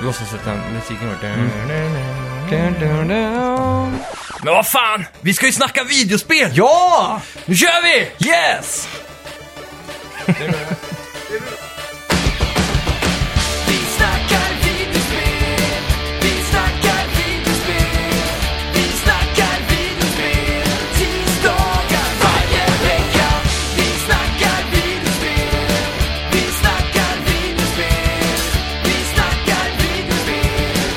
låtsas att den musiken går... Mm. Men vad fan! Vi ska ju snacka videospel! Ja! Nu kör vi! Yes! Vi snackar videospel, vi snackar videospel, vi snackar videospel tisdagar varje vecka. Vi snackar videospel, vi snackar videospel, vi snackar videospel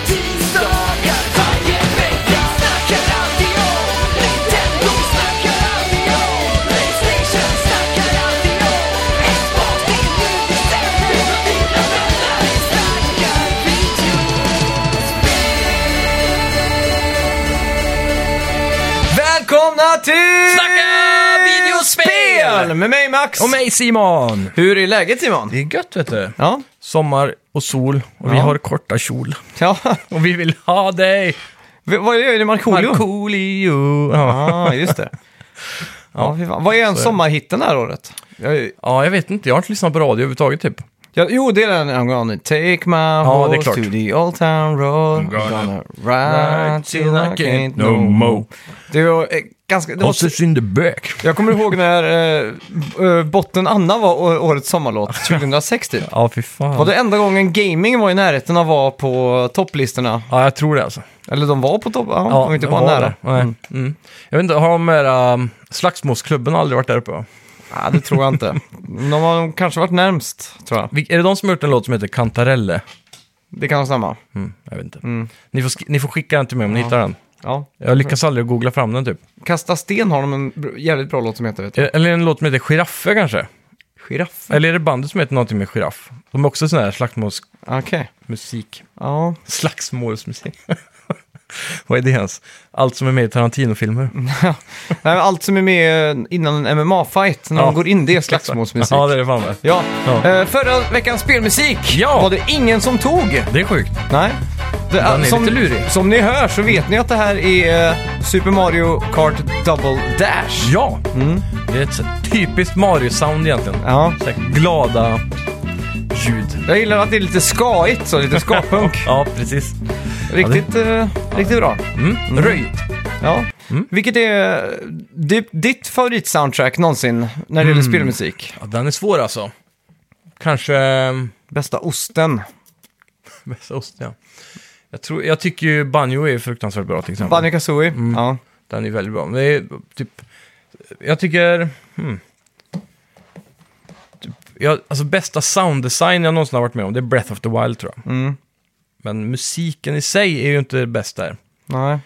tisdagar varje vecka. Snackar alltid om Nintendo, snackar alltid om Playstation, snackar alltid om Xbox, det är nu vi sätter och dina vänner. Vi snackar videospel. Välkomna till... Snacka videospel! Med mig Max! Och mig Simon! Hur är läget Simon? Det är gött vet du. Ja. Sommar och sol och vi Ja. har korta kjol. ja. Och vi vill ha dig! V- Vad är det? Markoolio? Markoolio! Ja. ah, just det. Ja, fy fan. Vad är en sommarhitten det här året? Jag, ja, jag vet inte. Jag har inte lyssnat på radio överhuvudtaget typ. jag, jo, det är den I'm gonna take my det är horse klart. to the old town road I'm gonna ride till I can't no more Det var eh, ganska... Det var, in the back. jag kommer ihåg när eh, b- eh, Botten Anna var å- årets sommarlåt, 2006 typ. Ja, fy fan. Var det enda gången gaming var i närheten av att vara på topplistorna? Ja, jag tror det alltså. Eller de var på topp, ja, de var inte det bara var nära. det. Nej. Mm. Jag vet inte, har de här um, slagsmålsklubben aldrig varit där uppe? va? Nej, det tror jag inte. De har kanske varit närmst, tror jag. Vil- Är det de som har gjort en låt som heter Cantarelle? Det kan stämma. Mm, jag vet inte. Ni, får sk- ni får skicka den till mig om ni Ja. hittar den. Ja. Jag lyckas aldrig googla fram den typ. Kasta sten har de en br- jävligt bra låt som heter, vet du. E- Eller en låt som heter Giraffe kanske? Giraff. Eller är det bandet som heter någonting med giraff? De är också sån här slagsmålsmusik. Okej. Ja. Slagsmålsmusik? Vad är det ens? Allt som är med i Tarantino-filmer. Mm, Nej, men Allt som är med innan en MMA-fight, när Ja. de går in, det är slagsmålsmusik. Ja, det är det fan med. Ja. Ja. Eh, förra veckans spelmusik Ja. var det ingen som tog. Det är sjukt. Nej. Det, Den är som, lite lurig. Som ni hör så vet ni att det här är eh, Super Mario Kart Double Dash. Ja! Mm. Det är ett så typiskt Mario-sound egentligen. Ja. Så här glada ljud. Jag gillar att det är lite skaigt, så lite skapunk. Ja, precis. Riktigt, eh, riktigt bra. Mm. Röj. Ja. Mm. Vilket är eh, di- ditt favoritsoundtrack någonsin när Mm. det gäller spelmusik? Ja, den är svår alltså. Kanske... ehm, Bästa osten. Bästa osten, ja. Jag, tror, jag tycker ju Banjo är fruktansvärt bra till exempel. Banjo Kazooie. Mm. Ja. Den är väldigt bra. Men det är typ... Jag tycker... Hmm. Typ, jag, alltså bästa sounddesign jag någonsin har varit med om, det är Breath of the Wild tror jag. Mm. Men musiken i sig är ju inte bäst där. Nej.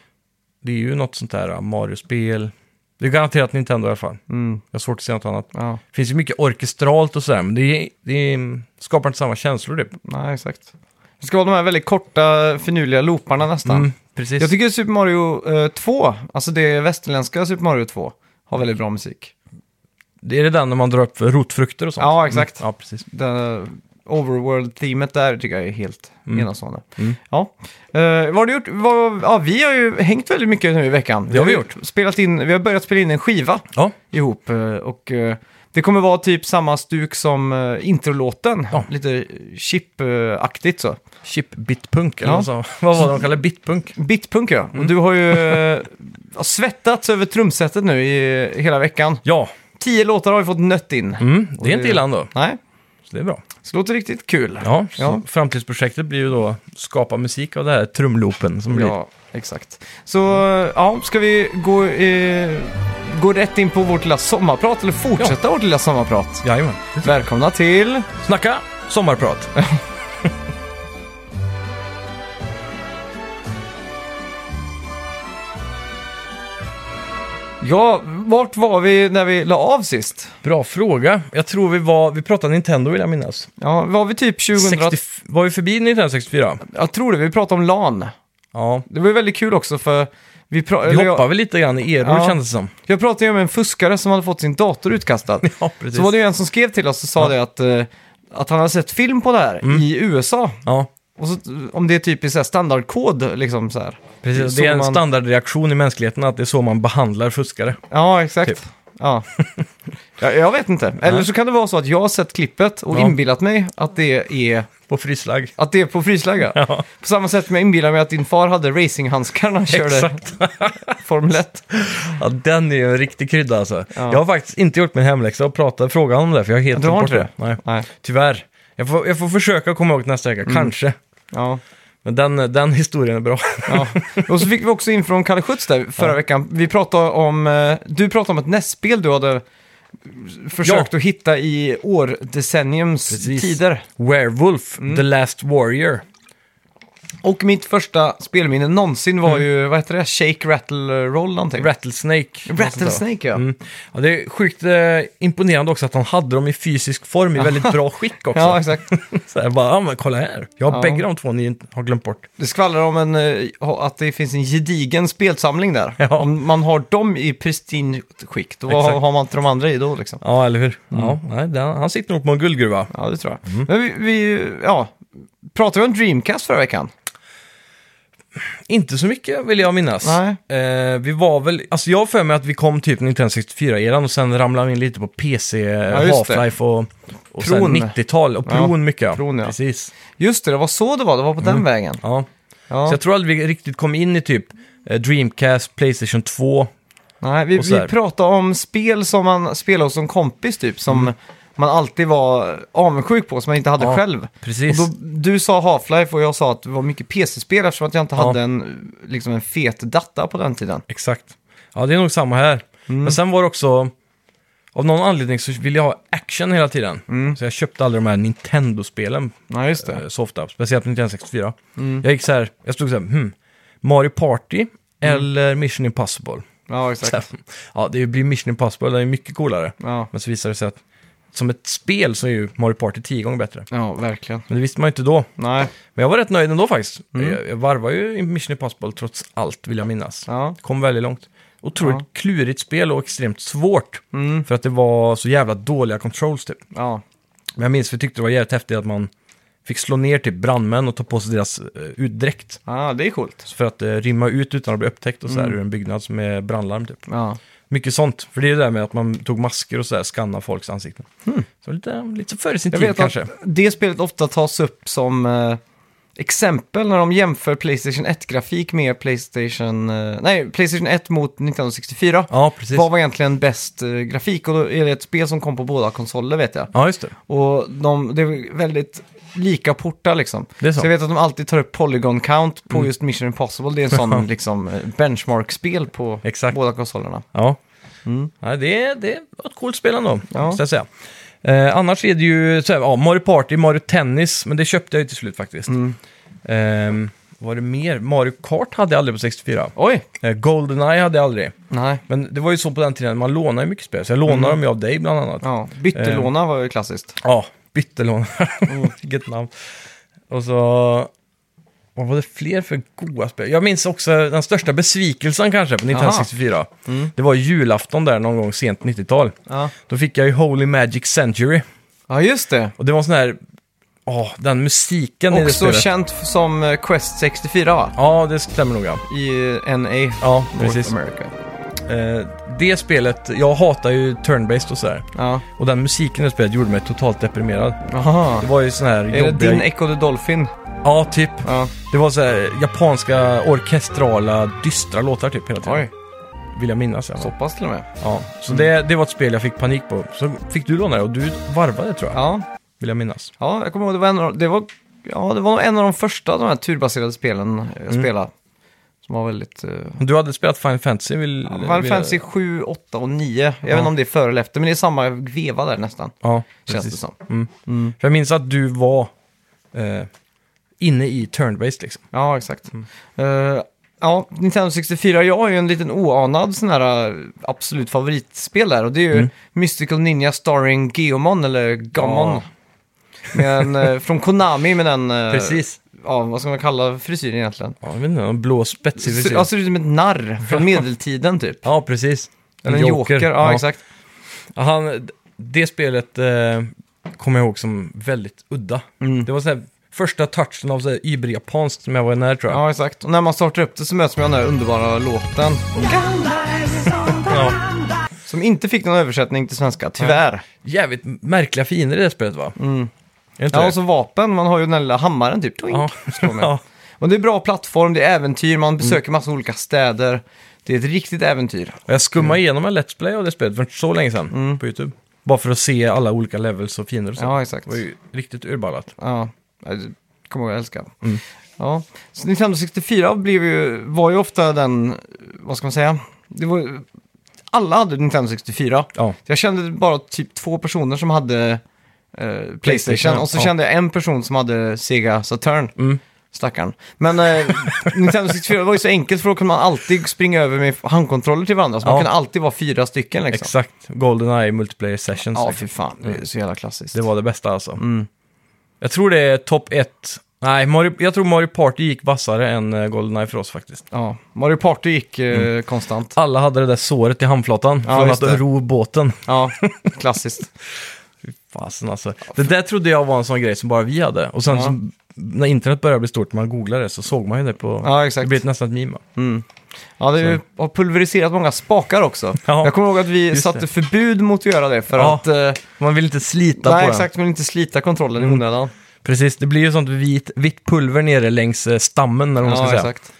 Det är ju något sånt där ja, Mario-spel. Det är garanterat Nintendo i alla fall. Mm. Jag har svårt att se något annat. Ja. Det finns ju mycket orkestralt och sådär, men det, är, det är, mm, skapar inte samma känslor typ. Nej, exakt. Det ska vara de här väldigt korta, finurliga looparna nästan. Mm, precis. Jag tycker Super Mario eh, 2, alltså det västerländska Super Mario 2, har väldigt bra musik. Det är det den när man drar upp rotfrukter och sånt? Ja, exakt. Mm, ja, precis. Det Overworld-teamet där tycker jag är helt Mm. enastående. Mm. Ja. Eh, vad har du gjort? Vad, ja, vi har ju hängt väldigt mycket nu i veckan. Det har vi gjort. Spelat in, vi har börjat spela in en skiva Ja, ihop eh, och eh, det kommer vara typ samma stuk som eh, introlåten. Ja. Lite chip-aktigt så. chip bitpunk eller Ja. vad sa- Vad var det de kallade bitpunk? Bitpunk ja. Mm. Och du har ju eh, svettats över trumsetet nu i hela veckan. Ja, Tio låtar har vi fått nött in. mm, Och det är inte det- illa ändå. Nej, Så det är bra. så det låter riktigt kul. Ja, så Ja. framtidsprojektet blir ju då skapa musik av det här trumloopen som blir. Ja, exakt. Så ja, ska vi gå, eh, gå rätt in på vårt lilla sommarprat, eller fortsätta vårt lilla sommarprat? Jajamän. Välkomna till... Snacka sommarprat. Ja, vart var vi när vi la av sist? Bra fråga. Jag tror vi var, vi pratade Nintendo vill jag minnas. Ja, var vi typ 2000... 60, var vi förbi 1964? Jag tror det, vi pratade om LAN. Ja. Det var ju väldigt kul också för... Vi pra... Vi eller hoppar jag, väl lite grann i eror Ja. kändes det som. jag pratade ju med en fuskare som hade fått sin dator utkastad. Ja, precis. Så var det ju en som skrev till oss och sa det att, eh, att han hade sett film på det här Mm. i USA. Ja, Och så, om det är typ i så här standardkod liksom så här. precis. Så Det är en man- Typ. standardreaktion i mänskligheten att det är så man behandlar fuskare. Ja, exakt. Typ. Ja. Jag, jag vet inte. Eller så kan det vara så att jag har sett klippet och Ja. inbillat mig att det är, På frislag. att det är på frislagga. Ja, På samma sätt som jag inbillar mig att din far hade racinghandskar när han körde exakt. Formel 1. Ja, den är ju en riktig krydda alltså. Ja. Jag har faktiskt inte gjort min hemläxa och pratat, frågat om det, för jag är helt Du har glömt inte Nej, Nej. tyvärr. Jag får, jag får försöka komma ihåg nästa vecka, Mm. kanske. Ja. Men den, den historien är bra. Ja. Och så fick vi också in från Kalle Schütz där förra Ja. veckan. Vi pratade om, eh, du pratade om ett nästspel du hade försökt att hitta i årdecenniums Precis. tider. Werewolf, Mm. The Last Warrior. Och mitt första spelminne någonsin var ju, vad heter det, Shake Rattle eh, Roll någonting? Rattlesnake. Rattlesnake ja. Mm. Ja, det är sjukt eh, imponerande också att han hade dem i fysisk form i väldigt bra skick också. Ja, exakt. Så här, bara, ja men kolla här. Jag har Ja. bägge de två ni inte har glömt bort. Det skvallrar om en, eh, att det finns en gedigen spelsamling där. Ja. Om man har dem i pristine skick, då Exakt. har man inte de andra i då liksom. Ja, eller hur? Ja, nej, den, han sitter nog på en guldgruva. Ja, det tror Mm. jag. Men vi, vi, ja, pratade vi om Dreamcast förra veckan? Inte så mycket vill jag minnas. Nej. Eh, vi var väl, alltså jag har för mig att vi kom typ 1964-eran och sen ramlade vi in lite på PC, just det. Half-Life och, och sen Pron. 90-tal. Och Pron Ja, mycket ja. Pron, ja. Precis. Just det, det var så det var. Det var på den vägen. Ja. Ja. Mm. Så jag tror aldrig vi riktigt kom in i typ eh, Dreamcast, Playstation 2. Nej, vi, och så vi här. pratade om spel som man spelade hos som kompis typ, som man alltid var eh, avundsjuk på, som man inte hade Mm. Ja, själv. Precis. Och då, du sa Half-Life och jag sa att det var mycket PC-spel eftersom att jag inte Ja. hade en, liksom en fet data på den tiden. Exakt. Ja, det är nog samma här. Mm. Men sen var det också... Av någon anledning så ville jag ha action hela tiden. Mm. Så jag köpte aldrig de här Nintendo-spelen Nej, just eh, så ofta. Speciellt på Nintendo 64. Mm. Jag gick så här, jag stod så här, hmm, Mario Party eller Mission Impossible. Ja, Så Mm. exakt. här, ja, det blir Mission Impossible, det är mycket coolare. Ja. Men så visade det sig att som ett spel så är ju Mario Party tio gånger bättre. ja, verkligen. Men det visste man ju inte då. Nej, Men jag var rätt nöjd ändå faktiskt. Mm. Jag, jag varvar ju Mission Impossible trots allt, vill jag minnas. ja. Kom väldigt långt. Otroligt Ja. klurigt spel och extremt svårt. Mm. För att det var så jävla dåliga controls typ. ja. Men jag minns vi tyckte det var jävligt häftigt att man fick slå ner typ brandmän och ta på sig deras eh, utdräkt. Ja, det är coolt. För att eh, rymma ut utan att bli upptäckt och så här Mm. ur en byggnad som är brandlarm typ. Ja. Mycket sånt. För det är det där med att man tog masker och så här skanna folks ansikten. Så lite, lite före sin Mm. Jag tid vet kanske. Typ, att det spelet ofta tas upp som eh, exempel när de jämför Playstation 1-grafik med Playstation... Eh, nej, Playstation 1 mot 1964. Ja, precis. Vad var egentligen bäst eh, grafik? Och då är det ett spel som kom på båda konsoler vet jag. Ja, just det. Och de, det är väldigt lika portar liksom. Det är så. Mm. jag vet att de alltid tar upp Polygon Count på just Mission Impossible. Det är en sån liksom eh, benchmark-spel på Exakt. båda konsolerna. Ja. ja det, är- det var ett coolt spel ändå, Mm. Ja. måste jag säga. Eh, annars är det ju så här, ja, Mario Party, Mario Tennis, men det köpte jag ju till slut faktiskt. Mm. Ehm, vad var det mer? Mario Kart hade jag aldrig på 64. Oj! Eh, Goldeneye hade jag aldrig. Nej. Men det var ju så på den tiden, man lånade ju mycket spel. Så jag lånade dem ju av dig bland annat. Mm. Ja, Eh. byttelåna var ju klassiskt. Ja, byttelån. Mm. Vilket namn. Och så... Vad var det fler för goda spel? Jag minns också den största besvikelsen kanske på 1964. Det var julafton där någon gång sent 90-tal. Mm. Ja, Då fick jag ju Holy Magic Century. ja just det. Och det var sån här... Ja, den musiken i det Också spelet. känt f- som eh, Quest 64 va? Ja, det stämmer nog ja. I eh, NA. Ja, North precis. America. Eh, det spelet, jag hatar ju turn-based och sådär. Ja. Och den musiken i det spelet gjorde mig totalt deprimerad. Aha. Det var ju sån här Är det jobbiga- din Echo the Dolphin? Ja, typ. Ja. Det var så här japanska orkestrala dystra låtar typ hela tiden. Oj, Vill jag minnas. Ja. så Mm. Så, pass till och med. ja. så det, det var ett spel jag fick panik på. Så fick du låna det och du varvade tror jag. Ja, Vill jag minnas. Ja, jag kommer ihåg, det var en av, det var, ja, det var nog en av de första de här turbaserade spelen jag Mm. spelade. Som var väldigt... Uh, Du hade spelat Final Fantasy? Vill, Final vill- Fantasy 7, 8 och 9. Jag vet inte om det är före eller efter, men det är samma veva där nästan. Ja, Känns det precis. som. För jag minns att du var eh, inne i turn-based liksom. Ja, exakt. Eh, ja, Nintendo 64, jag har ju en liten oanad sån här eh, absolut favoritspel där. Och det är Mm. ju Mystical Ninja Starring Geomon, eller Gammon. Ja. Med en, eh, från Konami med den, eh, Precis. ja, vad ska man kalla frisyren egentligen? Ja, jag vet inte, en blå spetsig frisyr. Jag ser ut alltså, som ett narr från medeltiden typ. Ja, precis. Eller en joker, Ja, exakt. Ja, Han, det spelet eh, kommer jag ihåg som väldigt udda. Det var så här, första touchen av så här yber-japanskt som jag var nära tror jag. Ja, exakt. Och när man startar upp det så möts man av den här underbara låten. Ja. Som inte fick någon översättning till svenska, tyvärr. Jävligt märkliga fiender i det spelet va? Mm. Är inte Ja, det? och så vapen, man har ju den lilla hammaren typ. Twink, Ja. slår med. Ja. Och det är bra plattform, det är äventyr, man besöker massa olika städer. Det är ett riktigt äventyr. Och jag skummade igenom en Let's Play av det spelet för inte så länge sedan på YouTube. Bara för att se alla olika levels och fiender och så. Ja, exakt. Det var ju riktigt urballat. Ja, jag kommer ihåg, jag älskar den. Ja. Så Nintendo 64 blev ju, var ju ofta den, vad ska man säga, det var, alla hade Nintendo 64. Ja. Jag kände bara typ två personer som hade eh, Playstation Playstation, och så ja. kände jag en person som hade Sega Saturn. Mm. Stackarn. Men eh, Nintendo 64 var ju så enkelt för då kunde man alltid springa över med handkontroller till varandra. Så man Ja. kunde alltid vara fyra stycken liksom. Exakt. Goldeneye Multiplayer Sessions. Ja, liksom. fy fan. Det är så jävla klassiskt. Det var det bästa alltså. Jag tror det är topp ett. Nej, Mario, jag tror Mario Party gick vassare än eh, Goldeneye för oss faktiskt. Ja, Mario Party gick eh, Mm. konstant. Alla hade det där såret i handflatan Ja, från just att det. ro båten. Ja, klassiskt. Fasen alltså. Det där trodde jag var en sån grej som bara vi hade. Och sen Ja. så, när internet började bli stort, man googlade det, så såg man ju det på... Ja, exakt. Det blev nästan ett meme. va? Ja, det är ju- har pulveriserat många spakar också. Ja, jag kommer ihåg att vi just satte det. förbud mot att göra det för Ja, att... Eh, Man vill inte slita nej, på exakt, men inte slita kontrollen i onödan. den. Precis, det blir ju sånt vit, vitt pulver nere längs eh, stammen, när man ska Ja, säga. exakt.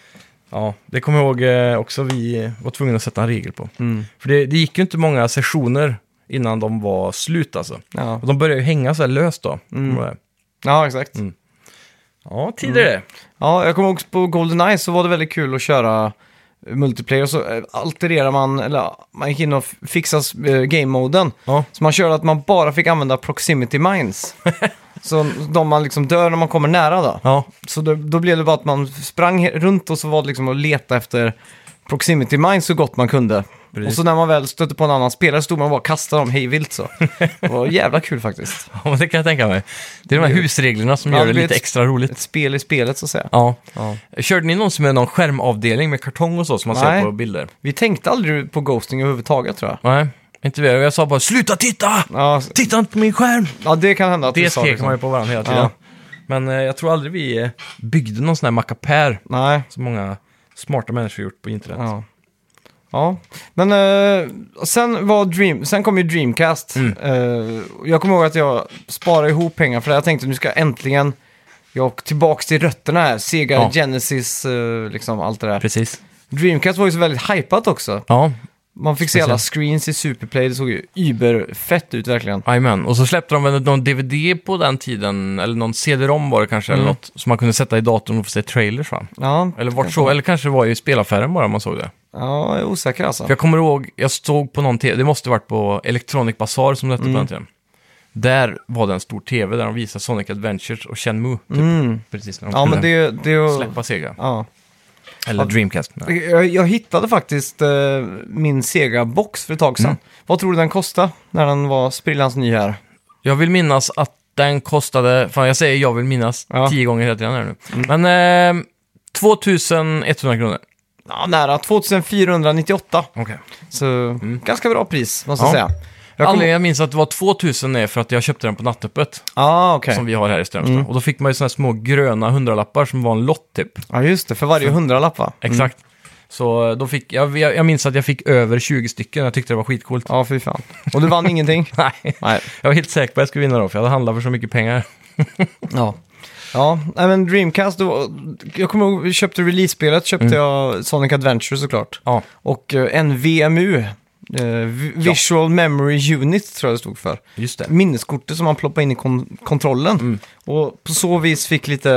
Ja, det kommer jag ihåg eh, också vi eh, var tvungna att sätta en regel på. För det, det gick ju inte många sessioner innan de var slut alltså. Ja, Och de började ju hänga så här löst då. Kommer du ihåg det? ja exakt. Mm. Ja, tidigare. Ja, jag kommer ihåg på Goldeneye så var det väldigt kul att köra multiplayer och så eh, altererar man, eller man gick in och f- fixade eh, game-moden. Ja. Så man körde att man bara fick använda proximity mines. så de man liksom dör när man kommer nära då. Ja, Så då, då blev det bara att man sprang he- runt och så var det liksom att leta efter proximity mines så gott man kunde. Precis. Och så när man väl stötte på en annan spelare stod man och bara och kastade dem hej vilt så. Det var jävla kul faktiskt. ja, men det kan jag tänka mig. Det är de här husreglerna som Ja, gör det det blir lite ett- extra roligt. Ett spel i spelet så att säga. Ja. Ja. Körde ni någonsin med någon skärmavdelning med kartong och så som man Nej. ser på bilder? Vi tänkte aldrig på ghosting överhuvudtaget tror jag. Nej, inte vi. Jag sa bara sluta titta! Ja, Titta inte på min skärm! ja det kan hända att vi Det sa skrek liksom. man ju på varandra hela tiden. Ja. Men eh, jag tror aldrig vi eh, byggde någon sån här mackapär Nej. som många smarta människor gjort på internet. Ja. Ja, men eh, sen, var Dream, sen kom ju Dreamcast. Mm. Eh, jag kommer ihåg att jag sparade ihop pengar för det. Jag tänkte nu ska jag äntligen jag tillbaka till rötterna här. Sega, Ja. Genesis, eh, liksom allt det där. Precis. Dreamcast var ju så väldigt hypat också. Ja, Man fick se alla screens i Superplay, det såg ju überfett ut verkligen. jajamän. Och så släppte de väl någon DVD på den tiden, eller någon CD-ROM var det kanske, eller Mm. något, som man kunde sätta i datorn och få se trailers va? Ja, Eller vart så, eller kanske det var i spelaffären bara man såg det. ja jag är osäker alltså. För jag kommer ihåg, jag såg på någon tv, det måste varit på Electronic Bazaar som det hette Mm. på den tiden. Där var det en stor tv där de visade Sonic Adventures och Shenmue typ. Precis när de Mm. Ja, skulle men det, det släppa Sega. ja. Eller Dreamcast. Nej. jag, jag hittade faktiskt eh, min Sega-box för ett tag sedan. Mm. Vad tror du den kostade när den var sprillans ny här? Jag vill minnas att den kostade, fan jag säger jag vill minnas Ja. Mm. tio gånger hela tiden här nu. Men eh, 2100 kronor. Ja, nära 2498. Okay. Så ganska bra pris, måste Mm. Ja. jag säga. Jag Anledningen kommer- jag minns att det var 2000 är för att jag köpte den på nattöppet Ja, okej. Mm. som vi har här i Strömstad. Och då fick man ju såna här små gröna hundralappar som var en lott typ. Ja, just det. För varje hundralapp, va? Exakt. Så eh, då fick, jag, jag, jag minns att jag fick över 20 stycken, jag tyckte det var skitcoolt. Ja, fy fan. Och du vann ingenting? Nej, Nej. jag var helt säker på att jag skulle vinna då, för jag hade handlat för så mycket pengar. Ja. Ja, nej, men Dreamcast, då, jag kommer ihåg, vi köpte release-spelet, köpte jag Sonic Adventure såklart. Mm. Ja, Och eh, en VMU, eh, Vi- Visual Memory Unit tror jag det stod för. just det. minneskortet som man ploppade in i kon- kontrollen. Mm. Och på så vis fick lite,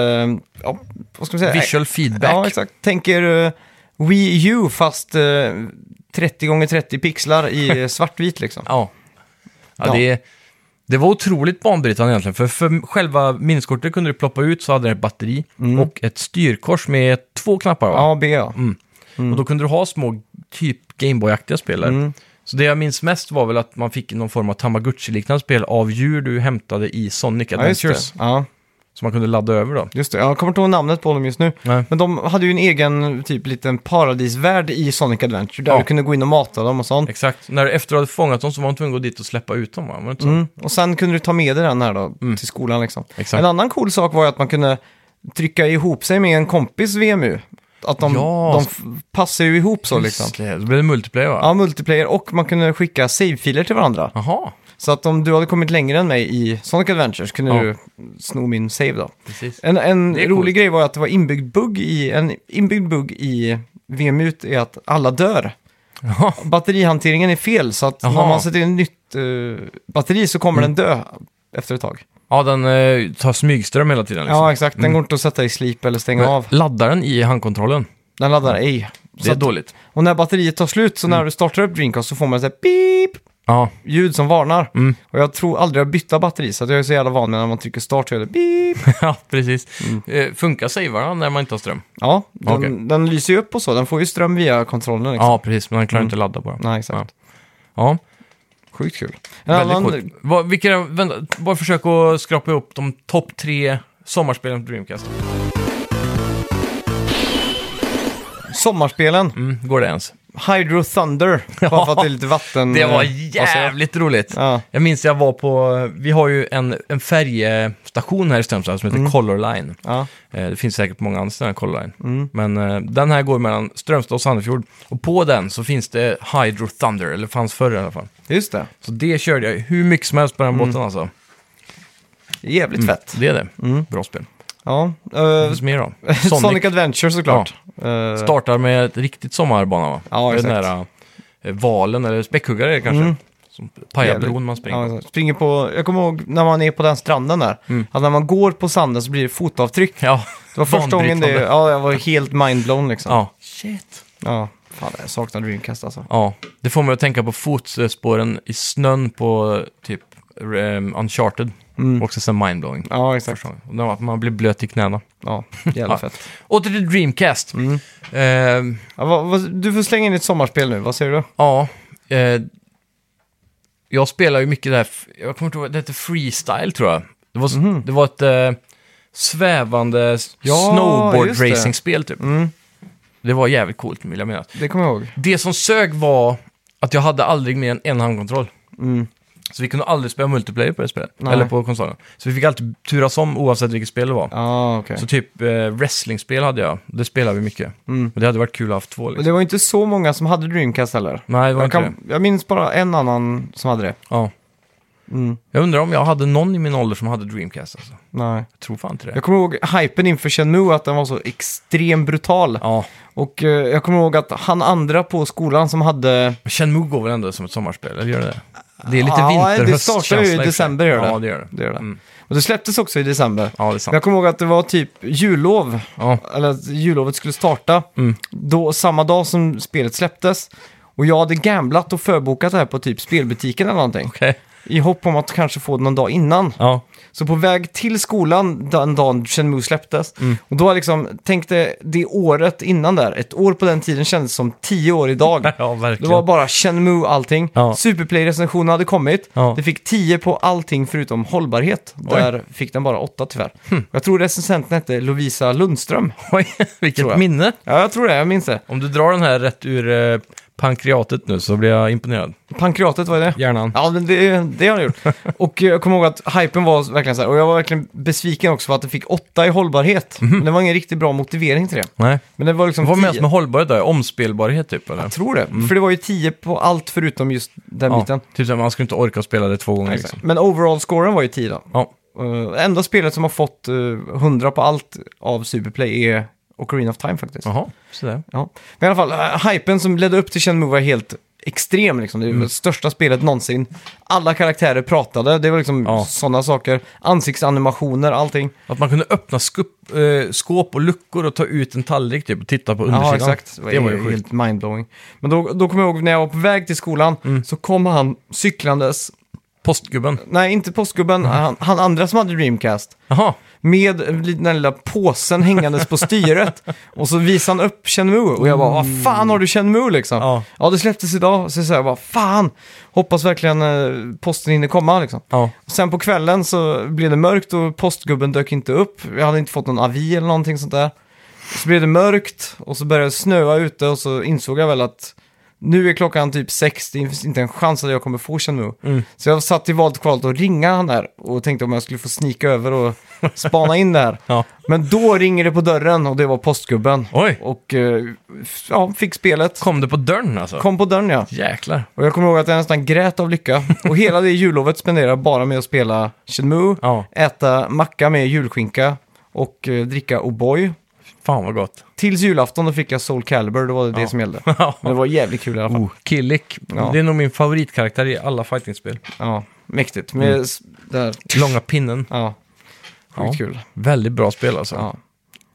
ja, vad ska man säga? Visual feedback. Ja, exakt. Tänker uh, Wii U fast eh, 30 gånger 30 pixlar i svartvit liksom. Ja. Ja. ja det, det var otroligt banbrytande egentligen. För, för själva minneskortet kunde du ploppa ut så hade det ett batteri och ett styrkors med två knappar. Va? Mm. Ja, Mm. B ja. Mm. Och då kunde du ha små typ Gameboy-aktiga spel. där. Mm. Så det jag minns mest var väl att man fick någon form av Tamagotchi-liknande spel av djur du hämtade i Sonic Ja, just Adventures. det. Ja, som man kunde ladda över då. just det. Jag kommer inte ihåg namnet på dem just nu. Nej. Men de hade ju en egen typ liten paradisvärld i Sonic Adventure där Ja. du kunde gå in och mata dem och sånt. Exakt. När du efter du hade fångat dem så var man tvungen att gå dit och släppa ut dem va? Var det inte så? Mm. Och sen kunde du ta med dig den här då Mm. till skolan liksom. Exakt. En annan cool sak var ju att man kunde trycka ihop sig med en kompis VMU. Att de, Ja. de f- passar ju ihop så liksom. Just det, så blir det multiplayer va? Ja, multiplayer och man kunde skicka save-filer till varandra. Jaha, Så att om du hade kommit längre än mig i Sonic Adventures kunde Ja. du sno min save då. precis. En, en Det är rolig coolt. grej var att det var inbyggd bugg i, en inbyggd bugg i VMUT är att alla dör. Jaha. Batterihanteringen är fel, så att när Jaha. Mm. man sätter in ett nytt eh, batteri så kommer den dö efter ett tag. Ja, den eh, tar smygström hela tiden liksom. Ja, exakt. Den går inte att sätta i slip eller stänga Men av. Laddar den i handkontrollen? Den laddar ej. Det Så är att, dåligt. Mm. och när batteriet tar slut, så när du startar upp Dreamcast så får man så här beep Ja, ljud som varnar. Mm. Och jag tror aldrig jag bytte batteri, så att jag är så jävla van med när man trycker start så gör det beep. ja precis. Mm. Eh, funkar savarna när man inte har ström? Ja, den, Okej. den lyser ju upp och så. Den får ju ström via kontrollen. Liksom. Ja, precis. Men den klarar inte att ladda bara. Nej, exakt. Ja, Sjukt kul. En väldigt annan coolt. Vad- Vilka, vänta, bara försök att skrapa ihop de topp tre sommarspelen på Dreamcast. sommarspelen, Mm, går det ens? Mm. Hydro Thunder, bara för att det är lite vatten... Det var eh, baserat. jävligt roligt. Ja. Jag minns jag var på, vi har ju en, en färjestation här i Strömstad som heter Color Line. Ja. Eh, Det finns säkert på många andra ställen, Color Line. Men eh, den här går mellan Strömstad och Sandefjord. Och på den så finns det Hydro Thunder, eller fanns förr i alla fall. Just det. Så det körde jag ju hur mycket som helst på den båten alltså. Mm. Jävligt fett. Det är det. Bra spel. Ja. Det eh, finns mer då. Sonic. Mm. Sonic, Adventure såklart. Eh, startar med ett riktigt sommarbana va? Ja, Den exakt. Mm. där eh, valen, eller späckhuggare är det kanske. Som pajar Jävligt. bron man springer ja, exakt. springer på, jag kommer ihåg när man är på den stranden där, Mm. att när man går på sanden så blir det fotavtryck. Ja, Det var första gången det, banbrytande. ja jag var helt mindblown liksom. Ja. Ja. Shit. Fan, jag saknar Dreamcast alltså. Ja, det får mig att tänka på fotspåren i snön på typ ehm, Uncharted. Mm. Också sen mindblowing. Ja, exakt. Första gången. Och när Man blir blöt i knäna. Ja, jävla Ja. fett. Åter till Dreamcast. Mm. Ehm, Ja, vad, vad, du får slänga in ett sommarspel nu, vad säger du? ja, eh, jag spelar ju mycket det här, jag kommer inte ihåg, det hette freestyle tror jag. Det var, s- det var ett eh, svävande s- Mhm. Ja, just det. Mm. snowboard racing-spel typ. Det var jävligt coolt vill jag minnas. Det kommer jag ihåg. Det som sög var att jag hade aldrig mer än en handkontroll. Mm. Så vi kunde aldrig spela multiplayer på det spelet. Nej. Eller på konsolen. Så vi fick alltid turas om oavsett vilket spel det var. Ja, okej. Så typ eh, wrestlingspel hade jag. Det spelade vi mycket. Men det hade varit kul att ha haft två. Men Liksom. Mm. det var ju inte så många som hade Dreamcast heller. Nej, det var Jag, inte det. kan, jag minns bara en annan som hade det. Ja. Mm. Jag undrar om jag hade någon i min ålder som hade Dreamcast. Alltså. Nej. Jag tror fan inte det. Jag kommer ihåg hypen inför Shenmue att den var så extremt brutal. Ja, Och eh, jag kommer ihåg att han andra på skolan som hade... men Shenmue går väl ändå som ett sommarspel? Eller gör det det? Det är lite Ja, vinter det höstkänsla startar ju i och för sig. december, gör det. Ja, det gör det. Det gör det. Mm. Och det släpptes också i december. Ja, det är Men jag sant. kommer ihåg att det var typ jullov, Ja. eller att jullovet skulle starta, Mm. då, samma dag som spelet släpptes. Och jag hade gamblat och förbokat det här på typ spelbutiken eller någonting. Okej. I hopp om att kanske få det någon dag innan. Ja. Så på väg till skolan den dagen Shenmue släpptes, Mm. och då liksom tänkte det året innan där, ett år på den tiden kändes som tio år idag. ja, Det verkligen. var bara Shenmue allting. Ja. Superplay-recensionen hade kommit. Ja. Det fick 10 på allting förutom hållbarhet. Där fick den bara 8 tyvärr. Hm. Jag tror recensenten hette Lovisa Lundström. Oj, Tror vilket jag. minne. Ja, jag tror det. Jag minns det. Om du drar den här rätt ur eh, pankreatet nu så blir jag imponerad. Pankreatet, vad är det? Hjärnan. Ja, men det, det har jag gjort. och eh, jag kommer ihåg att hypen var verkligen så här. Och jag var verkligen besviken också för att det fick 8 i hållbarhet. Men det var ingen riktigt bra motivering till det. Nej. Men det var liksom Vad Mhm. var mest 10. med hållbarhet där? Omspelbarhet typ eller? Jag tror det. För det var ju 10 på allt förutom just den biten. Typ såhär, man skulle inte orka spela det två gånger liksom. Men overall-scoren var ju 10 då. Ja. Uh, enda spelet som har fått eh, 100 på allt av Superplay är Ocarina of Time faktiskt. Jaha, sådär. Ja. Men i alla fall, eh, hypen som ledde upp till Shenmue var helt extrem. Liksom. Mm. Det var det största spelet någonsin. Alla karaktärer pratade, det var liksom Ja. sådana saker. Ansiktsanimationer, allting. Att man kunde öppna skup, eh, skåp och luckor och ta ut en tallrik typ och titta på undersidan. Ja, exakt. Det var, Det var ju ju sjukt. helt mindblowing. Men då, då kommer jag ihåg när jag var på väg till skolan Mm. så kom han cyklandes, Postgubben. nej inte påskgubben, Mm. han, han andra som hade Dreamcast. Jaha, med den där lilla påsen hängandes på styret. Och så visade han upp Shenmue och jag bara, vad fan har du Shenmue liksom? Ja, Ja. det släpptes idag. Så jag bara, fan, hoppas verkligen eh, posten hinner komma liksom. ja. Sen på kvällen så blev det mörkt och postgubben dök inte upp. Jag hade inte fått någon avi eller någonting sånt där. Så blev det mörkt och så började det snöa ute och så insåg jag väl att nu är klockan typ sex, det finns inte en chans att jag kommer få Shenmue. Mm. Så jag satt i valt kvalet och ringa han där och tänkte om jag skulle få snika över och spana in där. Ja. Men då ringer det på dörren och det var postgubben. Oj, Och eh, f- ja, fick spelet. kom du på dörren alltså? Kom på dörren ja. Jäklar. Och jag kommer ihåg att jag nästan grät av lycka. Och hela det jullovet spenderade jag bara med att spela Shenmue, Ja, äta macka med julskinka och eh, dricka O'boy. fan vad gott. Tills julafton då fick jag Soul Calibur, då var det det Ja. som gällde. Ja. Men det var jävligt kul i alla fall. Oh, Killik. Ja. Det är nog min favoritkaraktär i alla fightingspel. Ja, mäktigt. Mm. Med s- där. Långa pinnen. Ja, Ja. sjukt kul. Väldigt bra spel alltså. Ja.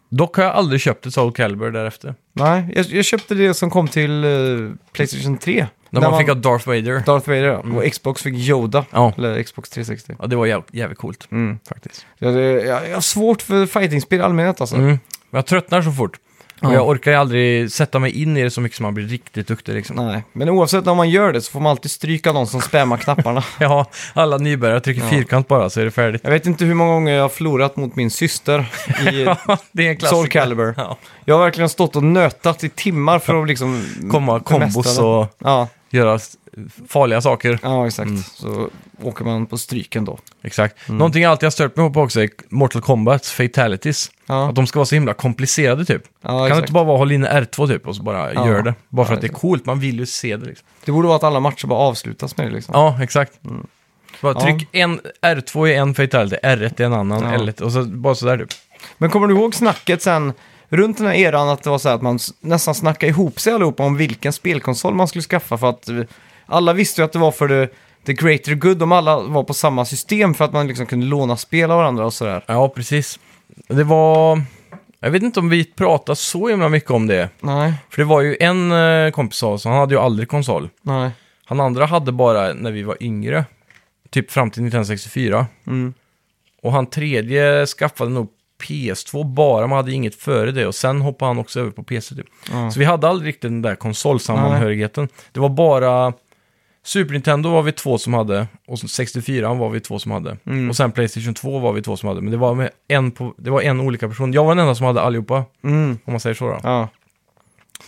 Dock har jag aldrig köpt ett Soul Calibur därefter. Nej, jag, jag köpte det som kom till eh, Playstation 3. När man, fick ha Darth Vader. Darth Vader ja. och Xbox fick Yoda. Ja. Eller Xbox 360. ja, det var jäv- jävligt coolt Mm. faktiskt. Jag, jag, jag har svårt för fightingspel i allmänhet alltså. Mm. Men jag tröttnar så fort. Ja. Och jag orkar ju aldrig sätta mig in i det så mycket som man blir riktigt duktig liksom. Nej, men oavsett om man gör det så får man alltid stryka någon som spammar knapparna. Ja, alla nybörjare trycker Ja. fyrkant bara så är det färdigt. Jag vet inte hur många gånger jag har förlorat mot min syster i det är en Soul Calibur. Ja. Jag har verkligen stått och nötat i timmar för att liksom... Komma kombos bemästra det. och Ja, göra s- farliga saker. ja exakt. Mm. Så åker man på stryken då. Exakt. Mm. Någonting jag alltid har stört mig på också är Mortal Kombats fatalities. Ja, Att de ska vara så himla komplicerade typ. ja kan det exakt. inte bara vara håll inne R2 typ och så bara Ja. gör det? Bara för Ja, att det är exakt. coolt, man vill ju se det liksom. Det borde vara att alla matcher bara avslutas med det liksom. Ja, exakt. Bara Ja. tryck en, R2 i en fatality, R1 i en annan, Ja. L1 och så bara sådär typ. Men kommer du ihåg snacket sen runt den här eran att det var så här att man s- nästan snackade ihop sig allihopa om vilken spelkonsol man skulle skaffa för att eh, alla visste ju att det var för the, the greater good om alla var på samma system för att man liksom kunde låna spel av varandra och sådär. Ja, precis. Det var... Jag vet inte om vi pratade så himla mycket om det. Nej, För det var ju en eh, kompis av oss, han hade ju aldrig konsol. nej. Han andra hade bara när vi var yngre, typ fram till 1964. Mm. Och han tredje skaffade nog PS2 bara, man hade inget före det. Och sen hoppade han också över på PC typ. Ja. Så vi hade aldrig riktigt den där konsolsamhörigheten. Det var bara... Super Nintendo var vi två som hade och så 64 var vi två som hade. Mm. Och sen Playstation 2 var vi två som hade. Men det var, med en, på, det var en olika person. Jag var den enda som hade allihopa, Mm. om man säger så. Då. Ja.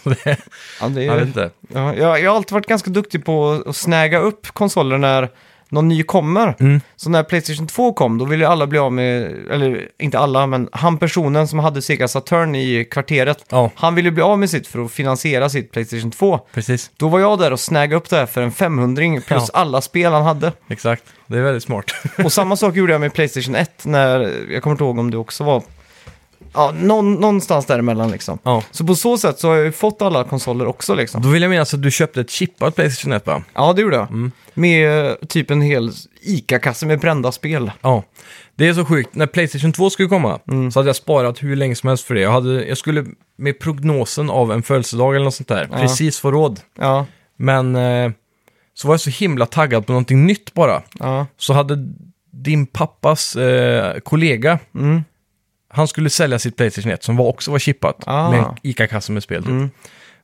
Det, Ja, det jag vet är, inte. ja, jag, jag har alltid varit ganska duktig på att snäga upp konsoler när någon ny kommer. Mm. Så när Playstation 2 kom, då ville ju alla bli av med, eller inte alla, men han personen som hade Sega Saturn i kvarteret, Ja, han ville bli av med sitt för att finansiera sitt Playstation 2. precis. Då var jag där och snaggade upp det här för en 500 plus alla spel han hade. Exakt. Det är väldigt smart. Och samma sak gjorde jag med Playstation 1 när, jag kommer inte ihåg om det också var, ja, någon, någonstans däremellan liksom. ja. Så på så sätt så har jag ju fått alla konsoler också liksom. Då vill jag minnas att du köpte ett chippat Playstation 1 va? Ja, det gjorde jag. Mm. Med eh, typ en hel ICA-kasse med brända spel. Ja, det är så sjukt. När Playstation 2 skulle komma så hade jag sparat hur länge som helst för det. Jag, hade, jag skulle med prognosen av en födelsedag eller något sånt där Ja. precis få råd. Ja, Men eh, så var jag så himla taggad på någonting nytt bara. ja, Så hade din pappas eh, kollega, mm, han skulle sälja sitt Playstation 1 som var också var chippat Ah. med en ICA-kasse med spel. Typ. Mm.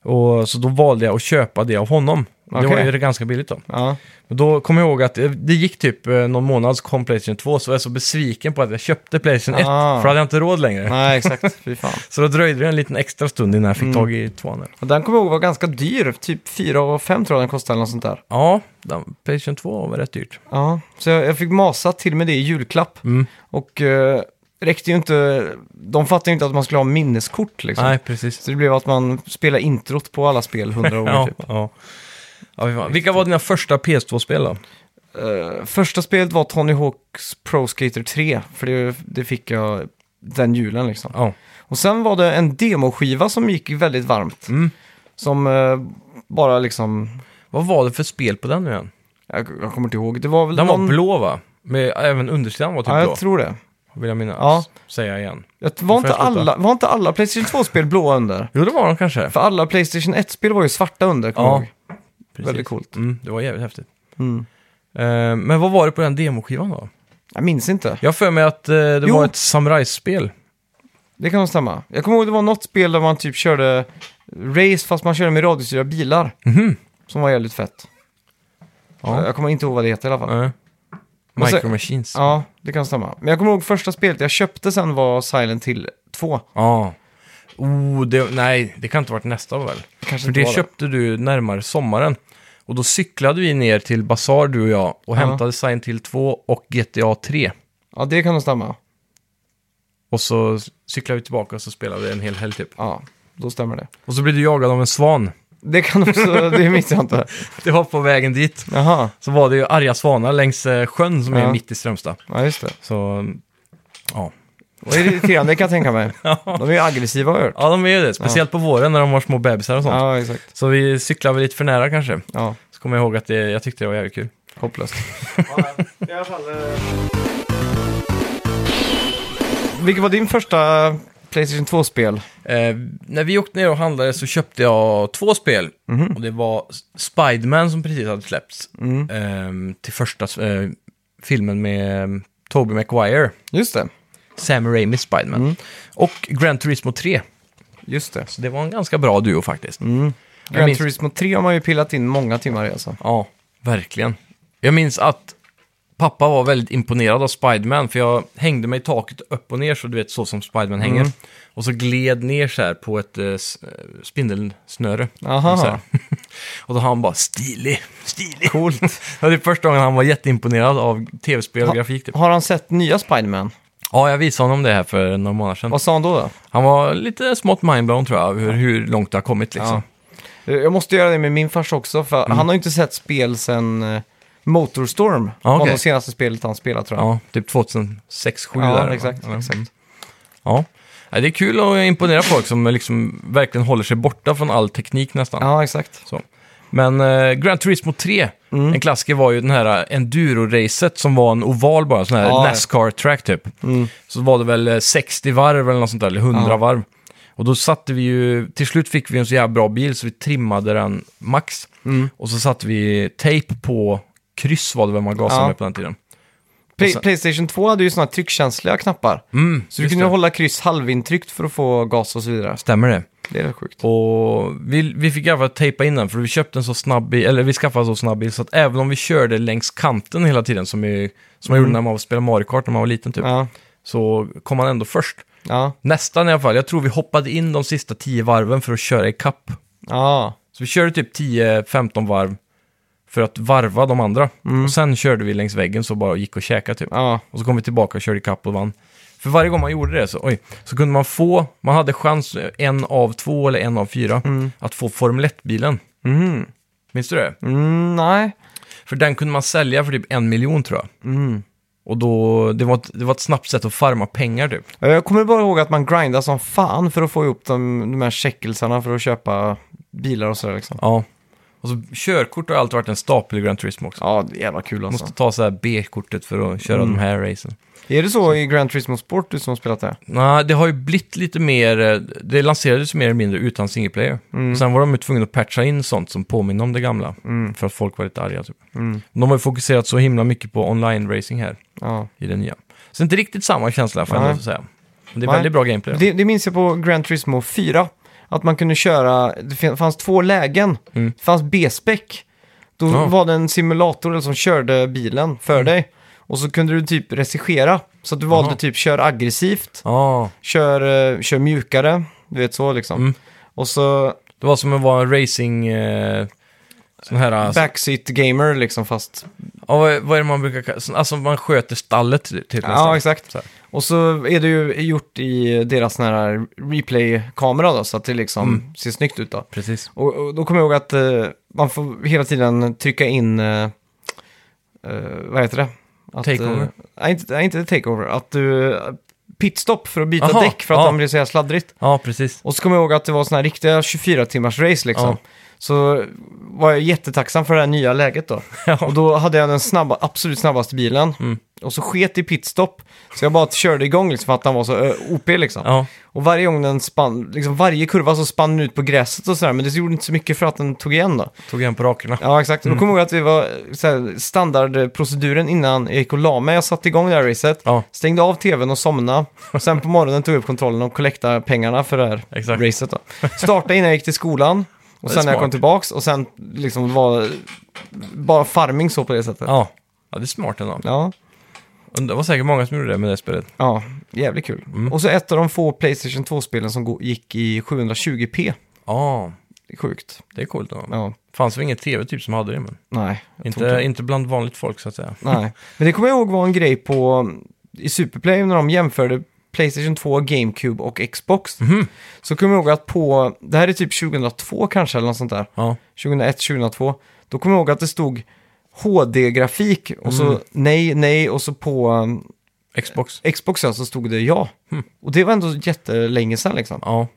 Och, så då valde jag att köpa det av honom. Det var Okej. ju ganska billigt då. ja. Men då kommer jag ihåg att det, det gick typ eh, någon månad så kom Playstation 2 så var jag så besviken på att jag köpte Playstation 1 Ah. för då hade jag inte råd längre. Nej, Mm. exakt. Fy fan. Så då dröjde det en liten extra stund innan jag fick tag i tvåan. där. Och den kommer jag ihåg var ganska dyr, typ 4 och 5 tror jag den kostade eller något sånt där. Ja, den, Playstation 2 var rätt dyrt. Ja, så jag, jag fick masa till med det i julklapp. Mm. Och eh, räckte ju inte, de fattade ju inte att man skulle ha minneskort liksom. Nej, precis. Så det blev att man spelade introt på alla spel hundra gånger Ja, typ. ja. Ja, fy fan. Vilka var dina första PS2-spel då? Eh, första spelet var Tony Hawks Pro Skater 3, för det, det fick jag den julen liksom. Ja. Och sen var det en demoskiva som gick väldigt varmt. Mm. Som eh, bara liksom, Vad var det för spel på den nu igen? jag, jag kommer inte ihåg, det var väl Den någon... var blå va? Med, även undersidan var typ Ja, blå, jag tror det. vill jag minnas. Ja. Säga igen. Jag, var, får jag inte sluta? alla, var inte alla Playstation 2-spel blå under? Jo, det var de kanske. För alla Playstation 1-spel var ju svarta under, kommer Ja, jag ihåg. Precis. Väldigt coolt. Mm, det var jävligt häftigt. Mm. Eh, men vad var det på den demoskivan då? Jag minns inte. Jag har för mig att eh, det Jo. var ett samurajspel. Det kan nog stämma. Jag kommer ihåg det var något spel där man typ körde race fast man körde med radiostyrda bilar. Mhm. Som var jävligt fett. Ja. Jag kommer inte ihåg vad det heter i alla fall. Nej. Och så- Micro Machines. Ja. Ja, det kan stämma. Men jag kommer ihåg första spelet jag köpte sen var Silent Hill 2. Oh, det, nej, det kan inte ha varit nästa år väl? Kanske För inte det var det. köpte du närmare sommaren. Och då cyklade vi ner till Bazaar, du och jag, och Ja. hämtade Silent Hill 2 och GTA 3. Ja, det kan nog stämma. Och så cyklade vi tillbaka och så spelade vi en hel helg typ. Ja, då stämmer det. Och så blev du jagad av en svan. Det kan också, det missar jag inte. Det var på vägen dit. Jaha, Så var det ju arga svanar längs eh, sjön som är Ja. mitt i Strömstad. ja just det. Så, ja. Och det är irriterande kan jag tänka mig. De är ju aggressiva har jag hört. Ja, de är ju det. Speciellt på våren när de har små bebisar och sånt. Ja, exakt. Så vi cyklade väl lite för nära kanske. Ja, Så kommer jag ihåg att det, jag tyckte det var jävligt kul. hopplöst. Vilket var din första Playstation 2-spel? Eh, när vi åkte ner och handlade så köpte jag två spel. Och det var Spiderman som precis hade släppts. Ehm, till första eh, filmen med eh, Tobey Maguire. Just det, Sam Raimis Spiderman. Och Gran Turismo 3. just det. Så det var en ganska bra duo faktiskt. Jag Gran minns- Turismo 3 har man ju pillat in många timmar i alltså. Ja, verkligen. Jag minns att pappa var väldigt imponerad av Spiderman, för jag hängde mig i taket upp och ner, så du vet så som Spiderman hänger. Mm. Och så gled ner så här på ett eh, s- eh, spindelsnöre. Aha. Så här. och då han bara stilig, stilig. Coolt. Det var det första gången han var jätteimponerad av tv-spel och Ha- grafik. Typ. Har han sett nya Spiderman? Ja, jag visade honom det här för några månader sedan. Vad sa han då? då? Han var lite smått mindblown tror jag, hur, hur långt det har kommit liksom. Ja. Jag måste göra det med min farsa också, för Mm. han har ju inte sett spel sen eh, Motorstorm. Ja, var Ah, okej. det senaste spelet han spelade tror jag. Ja, typ 2006, 2007 Ja, där. va? exakt, Ja. exakt. Mm. Ja. Nej, Det är kul att imponera folk som liksom verkligen håller sig borta från all teknik nästan. Ja, exakt. Så. Men eh, Gran Turismo 3, Mm. en klassiker var ju den här eh, enduro-racet som var en oval bara, sån här Ja, ja. Nascar-track typ. Så var det väl eh, 60 varv eller något sånt där, eller 100 Ja. varv. Och då satte vi ju, till slut fick vi en så jävla bra bil så vi trimmade den max. Mm. Och så satte vi tejp på kryss var det väl man gasade Ja. med på den tiden. Play- Och sen- Playstation 2 hade ju sådana tryckkänsliga knappar. Mm, Så du kunde hålla kryss halvintryckt för att få gas och så vidare. Stämmer det? Det är rätt sjukt. Och vi, vi fick i alla fall tejpa in den, för vi köpte en så snabb bil, eller vi skaffade en så snabb bil, så att även om vi körde längs kanten hela tiden, som, i, som man gjorde när man spelade Mario Kart när man var liten typ, Ja, så kom man ändå först. ja, Nästan i alla fall, jag tror vi hoppade in de sista 10 varven för att köra i kapp. ja. Så vi körde typ 10-15 varv för att varva de andra. Och sen körde vi längs väggen så bara gick och käkade typ. ja. Och så kom vi tillbaka och körde i kapp och vann. För varje gång man gjorde det så, oj, så kunde man få, man hade chans eh, en av två eller en av fyra att få Formel 1-bilen. Mm. Minns du det? Mm, nej. För den kunde man sälja för typ en miljon tror jag. Och då, det var, ett, det var ett snabbt sätt att farma pengar typ. Jag kommer bara ihåg att man grindade som fan för att få ihop de, de här checkelsarna för att köpa bilar och sådär liksom. Ja. Och så körkort har alltid varit en stapel i Gran Turismo också. Ja, det är jävla kul alltså. Måste ta så här B-kortet för att köra de här racen. Är det så i Gran Turismo Sport du som har spelat det? Nej, det har ju blivit lite mer, eh, det lanserades mer eller mindre utan single player. Mm, Sen var de ju tvungna att patcha in sånt som påminner om det gamla. För att folk var lite arga typ. Mm. De har ju fokuserat så himla mycket på online-racing här Ja. i det nya. Så inte riktigt samma känsla får jag Nej. ändå säga. Men det är Nej. väldigt bra gameplay. Det, det minns jag på Gran Turismo 4. Att man kunde köra, det fin- fanns två lägen. Mm. Det fanns B-spec. Då Ja. Mm. var det en simulator som körde bilen för dig. Och så kunde du typ regissera. Så att du valde Aha. typ kör aggressivt, Ja, kör, eh, kör mjukare, du vet så liksom. Mm. Och så det var som att vara en racing... Eh, sån här... Alltså, backseat gamer liksom fast. ja, vad- vad är det man brukar kalla... sån- Alltså man sköter stallet till till nästan. Ja, exakt. Så här. Och så är det ju gjort i deras sån här replay-kamera då, så att det liksom Mm. ser snyggt ut då. Precis. Och, och då kommer jag ihåg att eh, man får hela tiden trycka in, eh, eh, vad heter det? Att, Takeover? eh, nej, inte, nej, inte takeover. Att du, eh, pitstop för att byta Aha, däck för att ja. de blir så här sladdrigt. Ja, precis. Och så kommer jag ihåg att det var såna här riktiga 24-timmars race liksom. Ja. Så var jag jättetacksam för det här nya läget då. Och då hade jag den snabba, absolut snabbaste bilen. Mm. Och så sket i pitstop. Så jag bara körde igång liksom för att han var så eh, OP liksom. Ja, Och varje gång den spann, liksom varje kurva så spann den ut på gräset och sådär, men det gjorde inte så mycket för att den tog igen då. tog igen på rakerna. Ja, exakt. Mm. Då kommer jag ihåg att det var så här, standardproceduren innan jag gick och la mig. Jag satte igång det här racet, Ja. stängde av tvn och somnade. Och sen på morgonen tog jag upp kontrollen och collectade pengarna för det här Exakt. racet då. Startade innan jag gick till skolan. Och Det är sen när jag kom smart. tillbaks och sen liksom var bara farming så på det sättet. Ja. ja, det är smart ändå. Ja. Och Det var säkert många som gjorde det med det spelet. Ja, jävligt kul. Mm. Och så ett av de få Playstation 2-spelen som go- gick i 720p. Ja, Det är sjukt. det är coolt. Då. Ja, Fanns väl ingen tv typ som hade det, men nej. jag tror inte, inte bland vanligt folk så att säga. Nej, men det kommer jag ihåg var en grej på i Superplay när de jämförde Playstation 2, GameCube och Xbox. Så kommer jag ihåg att på, det här är typ 2002 kanske eller något sånt där, Ja, 2001, 2002. Då kommer jag ihåg att det stod HD-grafik och så nej, nej och så på um, Xbox. Xbox ja, så stod det ja. Och det var ändå jättelänge sedan liksom. Ja,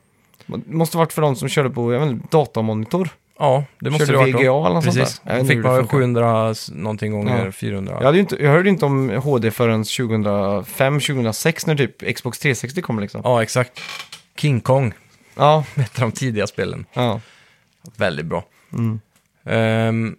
Det måste varit för de som körde på, jag vet inte, datamonitor. ja det måste Körde det varit då. VGA eller något sånt Precis. där. Jag vet inte Fick hur det man funkar. 700 s- någonting gånger Ja. 400. Jag, hade ju inte, jag hörde ju inte om HD förrän 2005, 2006 när typ Xbox 360 kom liksom. Ja, exakt. King Kong Ja, hette de tidiga spelen. ja. Väldigt bra. Mm. Ehm,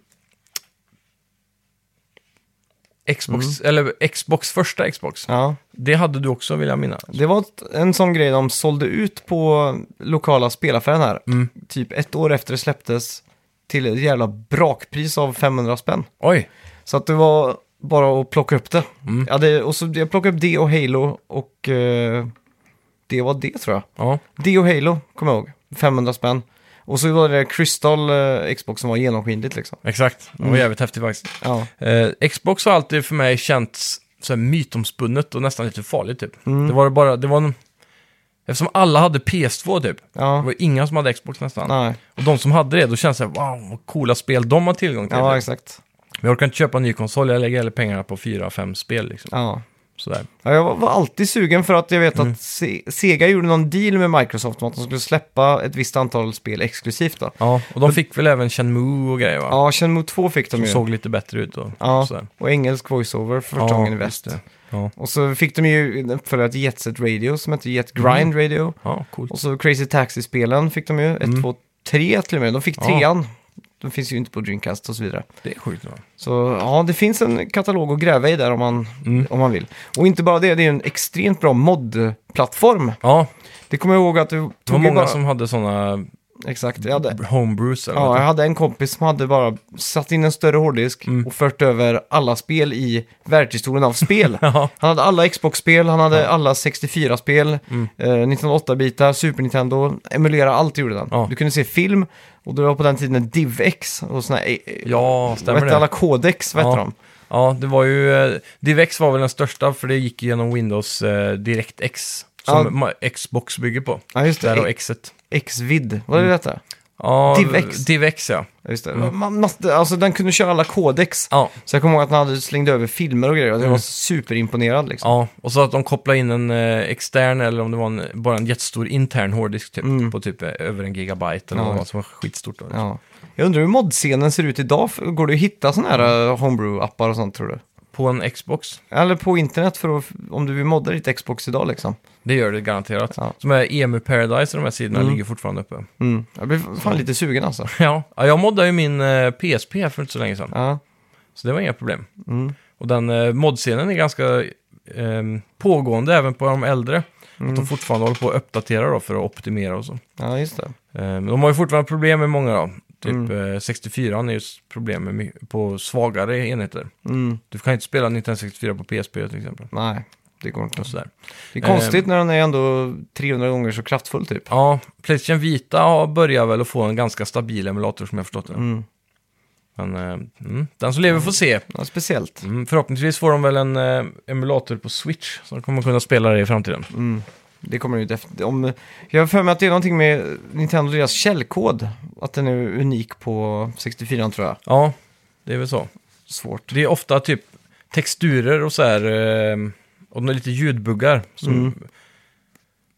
Xbox, eller Xbox, första Xbox. Mm. ja. Det hade du också vill jag minnas. Det var ett- en sån grej de sålde ut på lokala spelaffären här. Mm. Typ ett år efter det släpptes till ett jävla brakpris av 500 spänn. Oj, Så att det var bara att plocka upp det. Mm. Ja, det och så, jag plockade upp det och Halo och eh, det var det tror jag. ja. Det och Halo, kommer jag ihåg. 500 spänn. Och så var det Crystal eh, Xbox som var genomskinligt liksom. Exakt, det var jävligt häftigt faktiskt. Ja. Eh, Xbox har alltid för mig känts så här mytomspunnet och nästan lite farligt typ. Mm. Det var bara, det var en... Eftersom alla hade PS2 typ. Det Ja, var inga som hade Xbox nästan. nej. Och de som hade det, då kändes det wow, vad coola spel de har tillgång till. Ja, Men exakt. jag orkar inte köpa en ny konsol, jag lägger hellre pengarna på fyra, fem spel liksom. Ja. Sådär. Ja, jag var- var alltid sugen för att jag vet Mm. att Se- Sega gjorde någon deal med Microsoft om att de skulle släppa ett visst antal spel exklusivt. Då. Ja, och de fick väl även Shenmue och grejer va? Ja, Shenmue 2 fick de Som ju. såg lite bättre ut och ja, sådär. och engelsk voiceover för första Ja, gången i just väst. det. Ja. Och så fick de ju en uppföljare till Jet Set Radio som hette Jet Grind Mm. Radio. ja, coolt. Och så Crazy Taxi-spelen fick de ju. 1, 2, 3 till och med. De fick Mm. Ja. trean. De finns ju inte på Dreamcast och så vidare. Det är sjukt va? Så ja, det finns en katalog att gräva i där om man, Mm. om man vill. Och inte bara det, det är en extremt bra mod-plattform. Ja, Det kommer jag ihåg att du det var tog ju många bara... som hade sådana Exakt, jag hade... homebrews eller Ja, något. jag hade en kompis som hade bara satt in en större hårddisk Mm. och fört över alla spel i världshistorien av spel. Ja. Han hade alla Xbox-spel, han hade alla 64-spel, Mm. eh, 1908-bitar, Super Nintendo, emulera allt gjorde den. Ja. Du kunde se film, och det var på den tiden DivX och såna här... eh, eh, Ja, vad stämmer hette det? alla kodex, vad hette Ja. de? Ja, det var ju... eh, DivX var väl den största för det gick genom Windows eh, DirectX. Som Ja. ma- Xbox bygger på. Ja, just Där och det. Xet. Xvid, vad är det detta? Ja, DivX. DivX ja. Ja, just det. Man, måste- alltså den kunde köra alla kodex. Ja. Så jag kommer ihåg att han hade slängt över filmer och grejer. och Jag var superimponerad liksom. ja, och så att de kopplade in en eh, extern eller om det var en, bara en jättestor intern hårddisk typ. På typ eh, över en gigabyte eller Mm. Ja. vad som var skitstort. Då. Ja. Jag undrar hur modscenen ser ut idag. För- Går det att hitta sådana här eh, homebrew-appar och sånt tror du? På en Xbox. Eller på internet för att, om du vill modda ditt Xbox idag liksom. Det gör det garanterat. Ja. Som är EMU Paradise och de här sidorna ligger fortfarande uppe. Mm. Jag blir fan lite sugen alltså. Ja, ja, jag moddade ju min eh, PSP här för inte så länge sedan. Ja, Så det var inga problem. Mm. Och den eh, modscenen är ganska ehm, pågående även på de äldre. Att de fortfarande håller på att uppdatera då för att optimera och så. Mm. ja just det. Ehm, de har ju fortfarande problem med många då. Typ eh, 64 är ju s- problem med my- på svagare enheter. Mm. Du kan ju inte spela Nintendo 64 på PSP till exempel. Nej, det går inte. Och sådär. Det är konstigt när den är ändå 300 gånger så kraftfull typ. Ja, Playstation Vita har- börjar väl att få en ganska stabil emulator som jag förstått det. Mm. Men eh, mm, den som lever får se. Ja, speciellt. Mm, förhoppningsvis får de väl en eh, emulator på Switch som kommer kunna spela det i framtiden. Mm. Det kommer ju def- om Jag har för mig att det är någonting med Nintendo deras källkod. Att den är unik på 64 tror jag. Ja, det är väl så. Svårt. Det är ofta typ texturer och så här, eh, och några lite ljudbuggar. Som,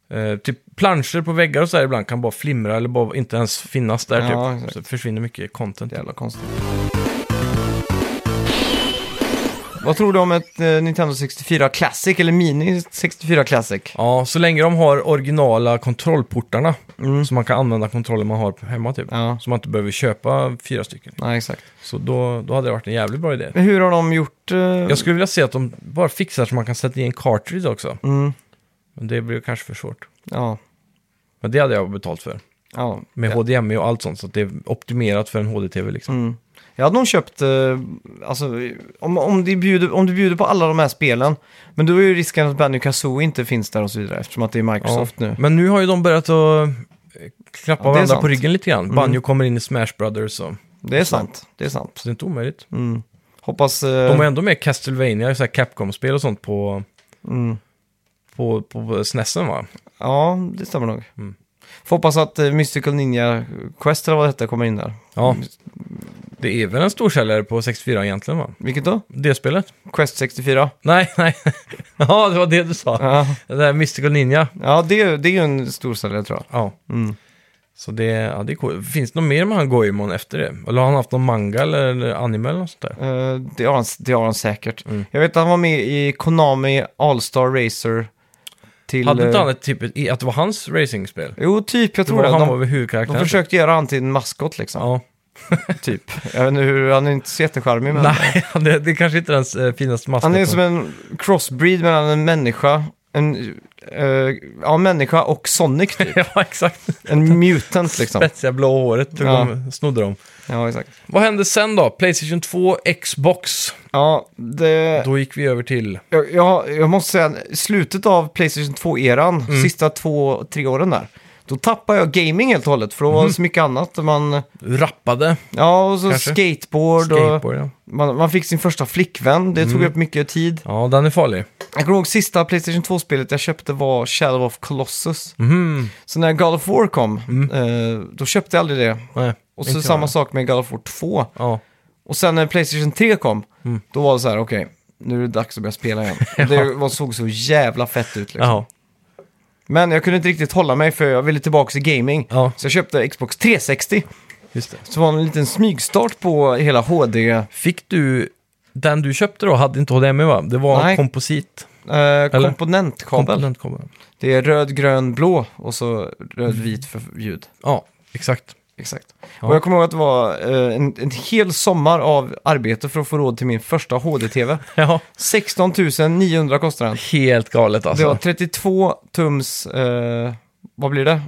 Mm. eh, typ planscher på väggar och så här ibland kan bara flimra eller bara inte ens finnas där Ja, typ. exakt. Så det försvinner mycket content. Jävla konstigt. Vad tror du om ett eh, Nintendo 64 Classic eller Mini 64 Classic? Ja, så länge de har originala kontrollportarna så man kan använda kontrollen man har hemma typ. Mm. Ja. Så man inte behöver köpa fyra stycken. Nej, exakt. Så då, då hade det varit en jävligt bra idé. Men hur har de gjort... eh, Jag skulle vilja se att de bara fixar så man kan sätta i en cartridge också. Mm, Men det blir kanske för svårt. ja, Men det hade jag betalt för. ja. E Med HDMI och allt sånt, så att det är optimerat för en HD-TV liksom. Mm. Jag hade nog köpt, eh, alltså, om, om, det bjuder, om du bjuder på alla de här spelen. Men då är ju risken att Banjo Kazooie inte finns där och så vidare, eftersom att det är Microsoft Mm. nu. Men nu har ju de börjat att eh, klappa det är varandra sant. Mm. på ryggen lite grann. Banjo kommer in i Smash Brothers, så, Det är sant, det är sant. så det är inte omöjligt. Mm. Hoppas... eh, De var ändå med i Castlevania, så här Capcom-spel och sånt på, mm. på, på SNESen va? Ja, det stämmer nog. Mm. Får hoppas att eh, Mystical Ninja Quest eller vad det hette kommer in där. Ja. Det är väl en storsäljare på 64 egentligen va? Vilket då? Det spelet? Quest 64? Nej, nej. ja, det var det du sa. Ja, Det där Mystical Ninja. ja det, är- det är ju en storsäljare tror jag. Ja. Mm. Så det, ja, det är coolt. Finns det något mer med han Goemon efter det? Eller har han haft någon manga eller, eller anime eller något sånt där? Eh, det, har han, det har han säkert. Mm. Jag vet att han var med i Konami All-Star Racer till... Hade inte eh, han ett typ, i- att det var hans racingspel? Jo, typ. Jag Det tror var, det. han var De, väl de huvudkaraktären? försökte göra han till en maskot liksom. Ja. Typ. Jag vet inte hur, han är inte så jättecharmig men... Nej, det, det kanske inte är hans eh, finaste maskot. Han är som en crossbreed mellan en människa, en, eh, ja, en människa och Sonic typ. Ja, exakt. En mutant liksom. Spetsiga blå håret tog Ja. de, snodde de. Ja, exakt. Vad hände sen då? Playstation 2, Xbox. Ja, det, Då gick vi över till... jag, jag, jag måste säga, slutet av Playstation 2-eran, Mm. sista två, tre åren där, då tappade jag gaming helt och hållet, för då var det så mycket annat. Man, Rappade. ja, och så Mm. Kanske. skateboard, och Skateboard, Mm. ja. man, man fick sin första flickvän, det tog upp mycket tid. Ja, den är farlig. Jag kommer ihåg sista Playstation 2-spelet jag köpte var Shadow of Colossus. Mhm. Så när God of War kom, eh, då köpte jag aldrig det. Nej, Och Mm. inte så jag. samma sak med God of War 2. Ja. Och sen när Playstation 3 kom, Mm. då var det så här, okej, nu är det dags att börja spela igen. Och Det var, såg så jävla fett ut liksom. Jaha. Men jag kunde inte riktigt hålla mig för jag ville tillbaka i gaming. Ja, Så jag köpte Xbox 360, just det. så var det en liten smygstart på hela HD. eh, Fick du... Den du köpte då hade inte HDMI va? Det var Nej. komposit. Eller? komponentkabel. Komponentkabel. Det är röd, grön, blå och så röd, vit för ljud. Ja, exakt. Exakt. Ja. Och jag kommer ihåg att det var eh, en, en hel sommar av arbete för att få råd till min första HD-TV. Ja, 16 900 kostar den. helt galet alltså. Det var 32 tums, eh, vad blir det?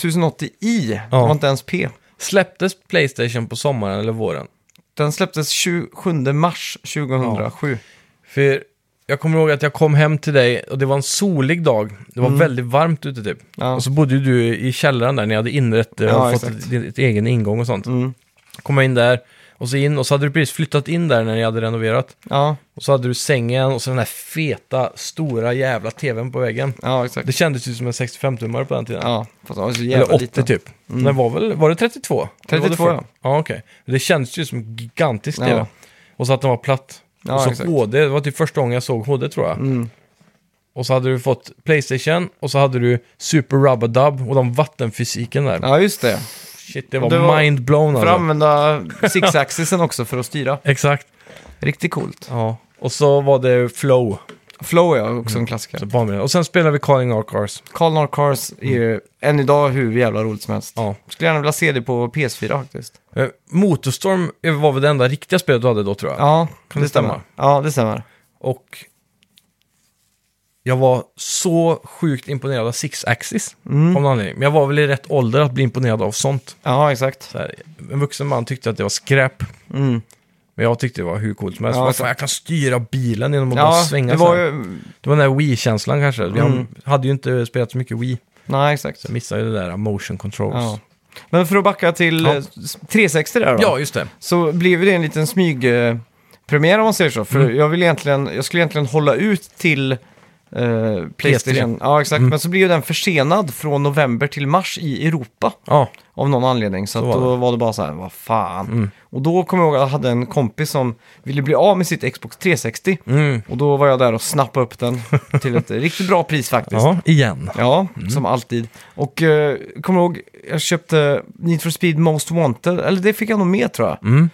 1080i, det Ja. var inte ens P. Släpptes Playstation på sommaren eller våren? Den släpptes 27 mars 2007. För jag kommer ihåg att jag kom hem till dig och det var en solig dag. Det var väldigt varmt ute typ. Mm. Ja. Och så bodde ju du i källaren där när jag hade inrett eh, Ja, och fått exakt. ett, ett egen ingång och sånt. Mm. Kom jag in där och så in och så hade du precis flyttat in där när jag hade renoverat. Ja, Och så hade du sängen och så den här feta, stora jävla tvn på väggen. ja exakt. Det kändes ju som en 65-tummare på den tiden. Ja, fast den var så jävla Eller 80 liten. typ. Mm. var, väl, var det 32? Eller var det 32, 40? Ja, okej. Det kändes ju som en gigantisk Ja. tv. Och så att den var platt. Ja, och så exakt. HD, det var typ första gången jag såg HD tror jag. Mm. Och så hade du fått Playstation och så hade du Super Rubber Dub och den vattenfysiken där. Ja, just det. Shit, det var, Det var- mind-blown För att alltså. använda six-axisen också för att styra. Exakt. Riktigt coolt. Ja. Och så var det Flow. Flow är Mm. också en klassiker. Så barnbilen. och sen spelade vi Calling All Cars. Carl North Cars är ju än idag hur jävla roligt som helst. Mm. Ja. Skulle gärna vilja se det på PS4 faktiskt. Eh, Motorstorm var väl det enda riktiga spelet du hade då tror jag. Ja, Kan det stämma? Ja, det stämmer. Och jag var så sjukt imponerad av Six Axis. Mm. Om någon anledning. Men jag var väl i rätt ålder att bli imponerad av sånt. Ja, exakt. Så här, en vuxen man tyckte att det var skräp. Mm. Men jag tyckte det var hur coolt som helst. Ja, Vad exakt. fan, jag kan styra bilen genom att bara Ja, svänga det det så var här. ju... Det var den där Wii-känslan kanske. Jag Mm. hade ju inte spelat så mycket Wii. Nej, exakt. Så jag missade ju det där motion controls. Ja. Ja, Men för att backa till Ja. eh, 360 där då. just det. Så blev det en liten smygpremiär premiär om man säger så. För Mm. jag, vill egentligen, jag skulle egentligen hålla ut till eh, Playstation. Ja, exakt. Mm. Men så blev ju den försenad från november till mars i Europa. Ja, Av någon anledning. Så, Så att var Mm. då var det bara så här, vad fan. Och då kommer jag ihåg att jag hade en kompis som ville bli av med sitt Xbox 360. mm. Och då var jag där och snappade upp den till ett riktigt bra pris faktiskt. ja Mm. igen. Ja, som alltid. Och eh, kommer ihåg, jag köpte Need for Speed Most Wanted, eller det fick jag nog med tror jag. Mm.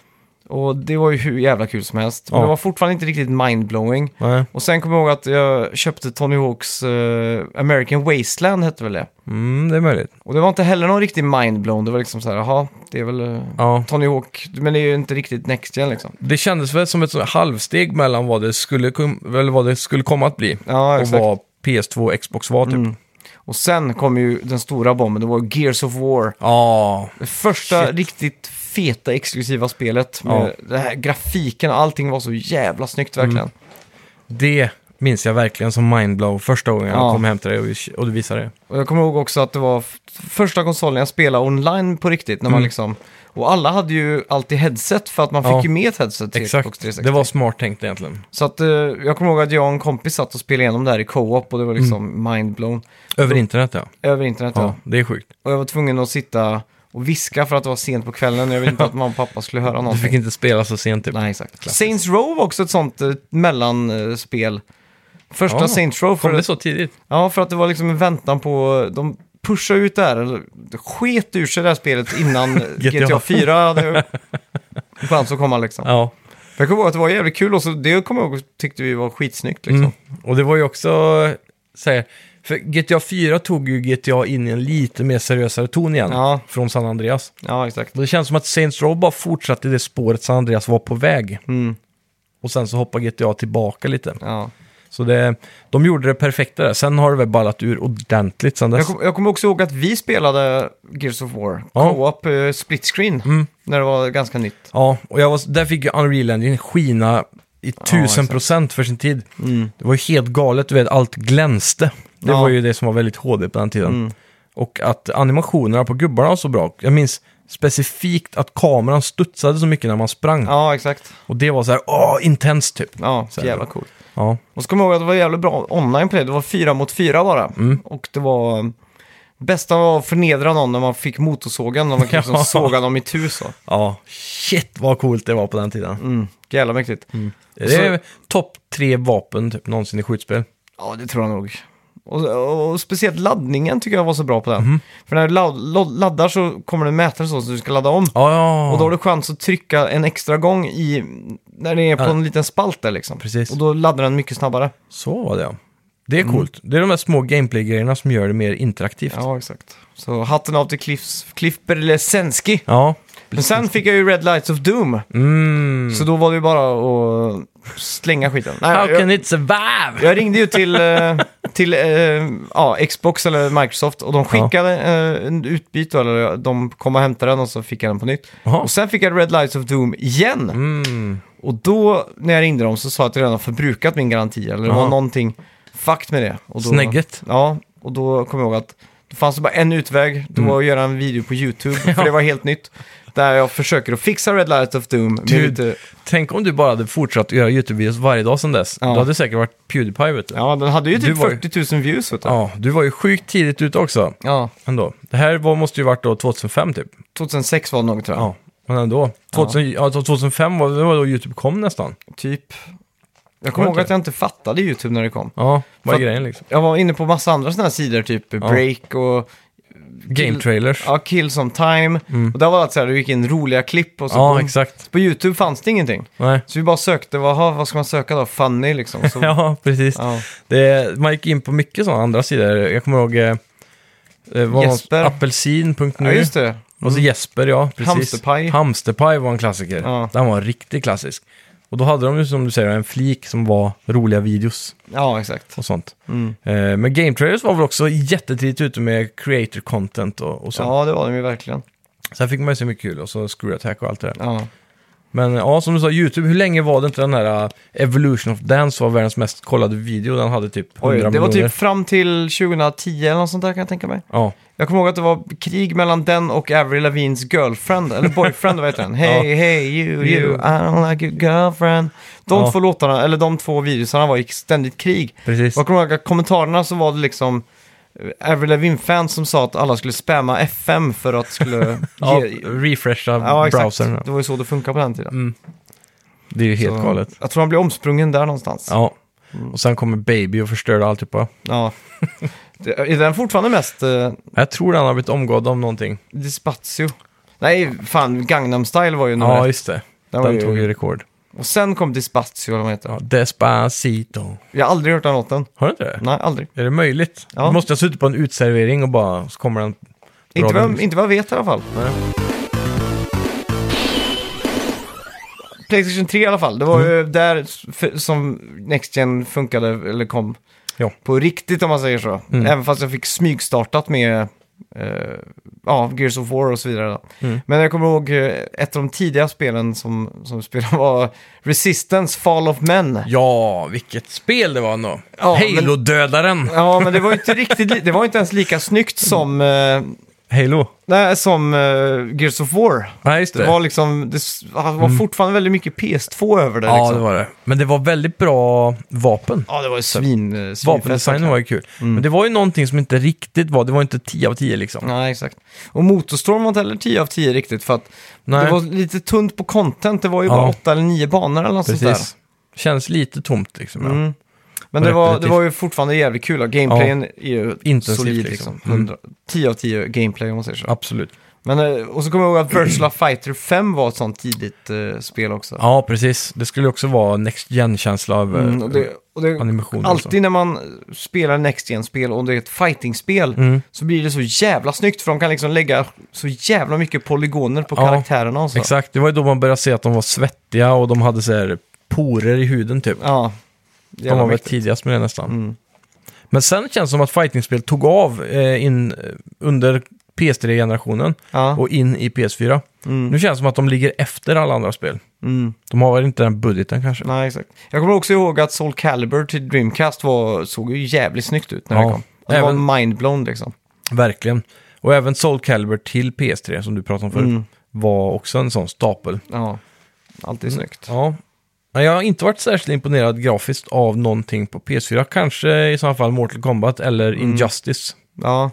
Och det var ju hur jävla kul som helst. Men Ja. det var fortfarande inte riktigt mindblowing. Nej. Och sen kommer jag ihåg att jag köpte Tony Hawks eh, American Wasteland hette väl det. Mm, det är möjligt. Och det var inte heller någon riktig mindblown, det var liksom så här, jaha, det är väl eh, Ja. Tony Hawk, men det är ju inte riktigt next gen liksom. Det kändes väl som ett sånt här halvsteg mellan vad det skulle, kom- eller vad det skulle komma att bli Ja, och exakt. Mm. vad PS2 och Xbox var typ. Och sen kom ju den stora bomben, det var Gears of War. Ja, Det första Shit. riktigt feta exklusiva spelet. Med det här grafiken och allting var så jävla snyggt verkligen. Det minns jag verkligen som mindblow första gången Ja. jag kom hem till dig och, vi- och du visade det. Och jag kommer ihåg också att det var f- första konsolen jag spelade online på riktigt. När man Mm. liksom, och alla hade ju alltid headset för att man fick Ja. ju med ett headset till Xbox Exakt, 360. det var smart tänkt egentligen. Så att, eh, jag kommer ihåg att jag och en kompis satt och spelade igenom det här i co-op och det var liksom Mm. mindblown. Över internet ja. Över internet ja. ja. Det är sjukt. Och jag var tvungen att sitta och viska för att det var sent på kvällen. Jag ville inte att mamma och pappa skulle höra Du någonting. fick inte spela så sent typ. Nej, exakt. Klassiskt. Saints Row var också ett sånt eh, mellanspel. Första Ja, Saints Row. Kom För, det så tidigt? ja, för att det var liksom en väntan på... De pushade ut det här, eller sket ur sig det här spelet innan eh, GTA. GTA 4 hade chans att komma liksom. Ja. Jag kommer ihåg att det var jävligt kul och så det kommer jag ihåg tyckte vi var skitsnyggt liksom. Mm. Och det var ju också, så här, för GTA 4 tog ju GTA in i en lite mer seriösare ton igen. Ja. Från San Andreas. Ja, exakt. Och det känns som att Saints Row bara fortsatte i det spåret San Andreas var på väg. Mm. Och sen så hoppar GTA tillbaka lite. Ja. Så det, de gjorde det perfekta där. Sen har det väl ballat ur ordentligt sen Jag, dess. kom, jag kommer också ihåg att vi spelade Gears of War, Ja. co-op, eh, split screen, när det var ganska nytt. Ja, och jag var, där fick ju Unreal Engine skina i tusen exakt. Mm. procent för sin tid. Det var ju helt galet, du vet, allt glänste. Det Ja. Mm. var ju det som var väldigt HD på den tiden. Och att animationerna på gubbarna var så bra. Jag minns specifikt att kameran studsade så mycket när man sprang. Ja, exakt. Och det var så här, åh, intens typ. Ja, Så så här jävla bra. coolt. Ja, Och så kommer jag ihåg att det var jävligt bra online play. Det var fyra mot fyra bara. Och det var... eh, Bästa var att förnedra någon när man fick motorsågen. När man liksom Ja. såga dem i tu så. ja. shit vad coolt det var på den tiden. Mm, jävla mäktigt. Det är topp tre vapen typ, någonsin i skjutspel. Ja, det tror jag nog. Och, och, och speciellt laddningen tycker jag var så bra på den. För när du lad, lad- laddar så kommer det en mätare så som du ska ladda om. Ja, ja. Och då har du chans att trycka en extra gång i, när det är på Ja. en liten spalt där liksom. Precis. Och då laddar den mycket snabbare. Så var det ja. Det är coolt. Det är de här små gameplay-grejerna som gör det mer interaktivt. Mm. Ja, exakt. Så hatten av till Cliffs, Cliff Berlesenski. Ja. Men sen fick jag ju Red Lights of Doom. Mm. Så då var det ju bara att slänga skiten. Nej, How jag, can it survive? jag ringde ju till, eh, till eh, ja, Xbox eller Microsoft och de skickade eh, en utbyte, eller de kom och hämtade den och så fick jag den på nytt. Jaha. Och sen fick jag Red Lights of Doom igen. Mm. Och då, när jag ringde dem, så sa jag att jag redan har förbrukat min garanti. Eller det var Jaha. någonting fakt med det. Och då, Snägget. Ja, och då kom jag ihåg att det fanns bara en utväg. Det Mm. var att göra en video på YouTube, för det var helt nytt. Där jag försöker att fixa Red Light of Doom. Med Dude. lite, Tänk om du bara hade fortsatt göra YouTube-videos varje dag sedan dess. Ja. Då hade det säkert varit Pewdiepie, vet du. ja, den hade ju Du typ var ju- 40 000 views vet du. Ja, du var ju sjukt tidigt ute också. Ja, Ändå. Det här var, måste ju varit då 2005 typ. 2006 var det nog tror jag. Ja, men ändå. 2000, ja. 2005 var, det var då YouTube kom nästan. Typ. Jag kommer Var det ihåg att inte? jag inte fattade YouTube när det kom. Ja, vad är Fatt- grejen liksom? Jag var inne på massa andra sådana här sidor, typ Break och Game trailers. ja, Kill Some Time. Och där var det att så här, du gick in roliga klipp och så Mm. Ja, på, exakt. på YouTube fanns det ingenting. Nej. Så vi bara sökte, vad, aha, vad ska man söka då? Funny liksom. Så, Ja, precis. ja. Det, man gick in på mycket sådana andra sidor. Jag kommer ihåg eh, eh, vad Jesper. var apelsin.nu. ja, just det. Mm. Och så Jesper, ja. Precis. Hamsterpaj. Hamsterpaj var en klassiker. Ja. Den var en riktig klassisk. Och då hade de ju som du säger en flik som var roliga videos Ja, exakt. och sånt. Mm. Eh, men Game Trailers var väl också jättetidigt ute med creator content och, och sånt. Ja, det var de ju verkligen. Sen fick man ju så mycket kul och så Screw Attack och allt det där. Ja. Men ja, som du sa, YouTube, hur länge var det inte den här eh, Evolution of Dance var världens mest kollade video? Den hade typ 100 Oj, det var miljoner. typ fram till 2010 eller något sånt där kan jag tänka mig. Ja, Jag kommer ihåg att det var krig mellan den och Avril Lavignes girlfriend, eller boyfriend, vad heter den? Hey, hey, you, you, You. I don't like your girlfriend. De Ja. två låtarna, eller de två videosarna var i ständigt krig. precis. Jag kommer ihåg att kommentarerna så var det liksom eh, Avril Lavigne-fans som sa att alla skulle spamma FM för att skulle Ja, ge... refresha Ja, exakt. browsern. Det var ju så det funkade på den tiden. Mm. Det är ju helt Så Mm. galet. Jag tror han blev omsprungen där någonstans. Ja. Ja. Och sen kommer Baby och förstörde alltihopa. Det- Är den fortfarande mest eh, Jag tror den har blivit omgådd av någonting. Dispatio? Nej, fan, Gangnam Style var ju nummer Ja, ett. just det. Den Den, var ju- tog ju rekord. Och sen kom Dispatio, eller vad den heter. Ja, Despacito. Jag har aldrig hört den låten. Har du inte det? Nej, aldrig. Är det möjligt? Mm. Ja. Du måste ha suttit på en utservering och bara, så kommer den... Inte Bra vad, vän. inte vad jag vet i alla fall. Nej. Playstation 3 i alla fall. Det var Mm. ju där s- f- som Next Gen funkade, eller kom. Ja. Mm. På riktigt om man säger så. Även fast jag fick smygstartat med eh, ja, Gears of War och så vidare. Då. Mm. Men jag kommer ihåg eh, ett av de tidiga spelen som, som spelade var Resistance Fall of Men. Ja, vilket spel det var ändå. Ja, men- Halo-dödaren. Ja, men det var ju inte riktigt, li- det var inte ens lika snyggt som, eh, Halo? nej, som eh, Gears of War. Nej, just det. Det var liksom, det s- ah, det var fortfarande väldigt mycket PS2 över det. Mm. ja, liksom. det var det. Men det var väldigt bra vapen. Ja, det var ju svin... eh, svinfett, Vapendesignen var ju kul. Mm. Men det var ju någonting som inte riktigt var, det var inte 10 av 10 liksom. Nej, exakt. Och Motorstorm var inte heller 10 av 10 riktigt för att Nej. det var lite tunt på content. Det var ju Ja. bara 8 eller 9 banor eller något sånt där. Precis. Känns lite tomt liksom. Ja. Mm. Men Och det var, det repetitivt. var ju fortfarande jävligt kul. och Gameplayen är ju Intensivt, solid liksom. liksom. 100, 10 av 10 gameplay om man säger så. Absolut. Men, eh, och så kommer jag ihåg att Virtual Fighter 5 var ett sånt tidigt eh, spel också. Ja, precis. Det skulle också vara next gen-känsla av Mm, mm, och det, och det, animation. och så. alltid när man spelar Next Gen-spel och det är ett fighting-spel Mm. så blir det så jävla snyggt för de kan liksom lägga så jävla mycket polygoner på Ja, karaktärerna alltså. och så. Exakt, det var ju då man började se att de var svettiga och de hade så här porer i huden typ. Ja. De Jävla var väl mäktigt. tidigast med det nästan. Mm. Men sen känns det som att fightingspel tog av eh, in, eh, under PS3-generationen Ja. och in i PS4. Mm. Nu känns det som att de ligger efter alla andra spel. Mm. De har väl inte den budgeten kanske. Nej, exakt. Jag kommer också ihåg att Soul Calibur till Dreamcast var, såg ju jävligt snyggt ut när Ja. det kom. Det Även- var mindblown liksom. Verkligen. Och även Soul Calibur till PS3 som du pratade om förut Mm. var också en sån stapel. Ja. Mm. Alltid snyggt. Ja. Men jag har inte varit särskilt imponerad grafiskt av någonting på PS4. Kanske i så fall Mortal Kombat eller Injustice. Ja.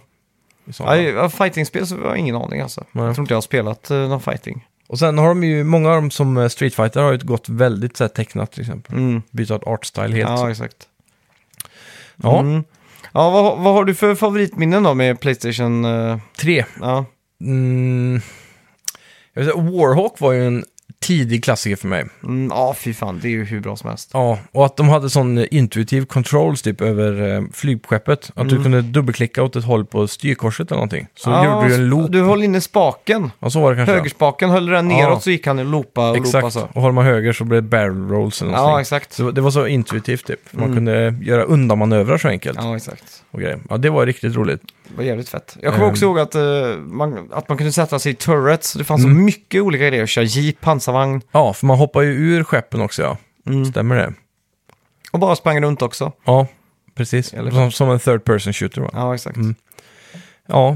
I så fall. Nej, ja, fighting-spel så har jag ingen aning alltså. Nej. Jag tror inte jag har spelat eh, någon fighting. Och sen har de ju, många av dem som eh, Street Fighter har ju gått väldigt så här, tecknat till exempel. Mm. Bytt art artstyle helt. Ja, Ja, exakt. Mm. Ja, vad, vad har du för favoritminnen då med Playstation? eh, tre. ja. Mm. Jag vill säga, Warhawk var ju en tidig klassiker för mig. Mm, ja, fy fan, det är ju hur bra som helst. Ja, och att de hade sån intuitiv controls typ över eh, flygskeppet. Att du kunde dubbelklicka åt ett håll på styrkorset eller någonting. Så ja, gjorde du en loop. Du höll inne spaken. Ja, så var det kanske. ja. Högerspaken höll den Ja. neråt så gick han och loopa och loopa Exakt, så. och håller man höger så blir det barrel rolls eller Ja, någonting. exakt. Mm. så det var så intuitivt typ. Man kunde göra undanmanövrar så enkelt. Ja, exakt. Och grejer. ja, det var riktigt roligt. Det var jävligt fett. Jag kommer Ehm. också ihåg att, eh, man, att man kunde sätta sig i turrets. Det fanns Mm. så mycket olika grejer. Köra jeep, pansarvagn Ja, för man hoppar ju ur skeppen också, ja. Mm. Stämmer det? och bara sprang runt också. Ja, precis. Eller- Som, som en third person shooter, va? Ja, Ja, exakt.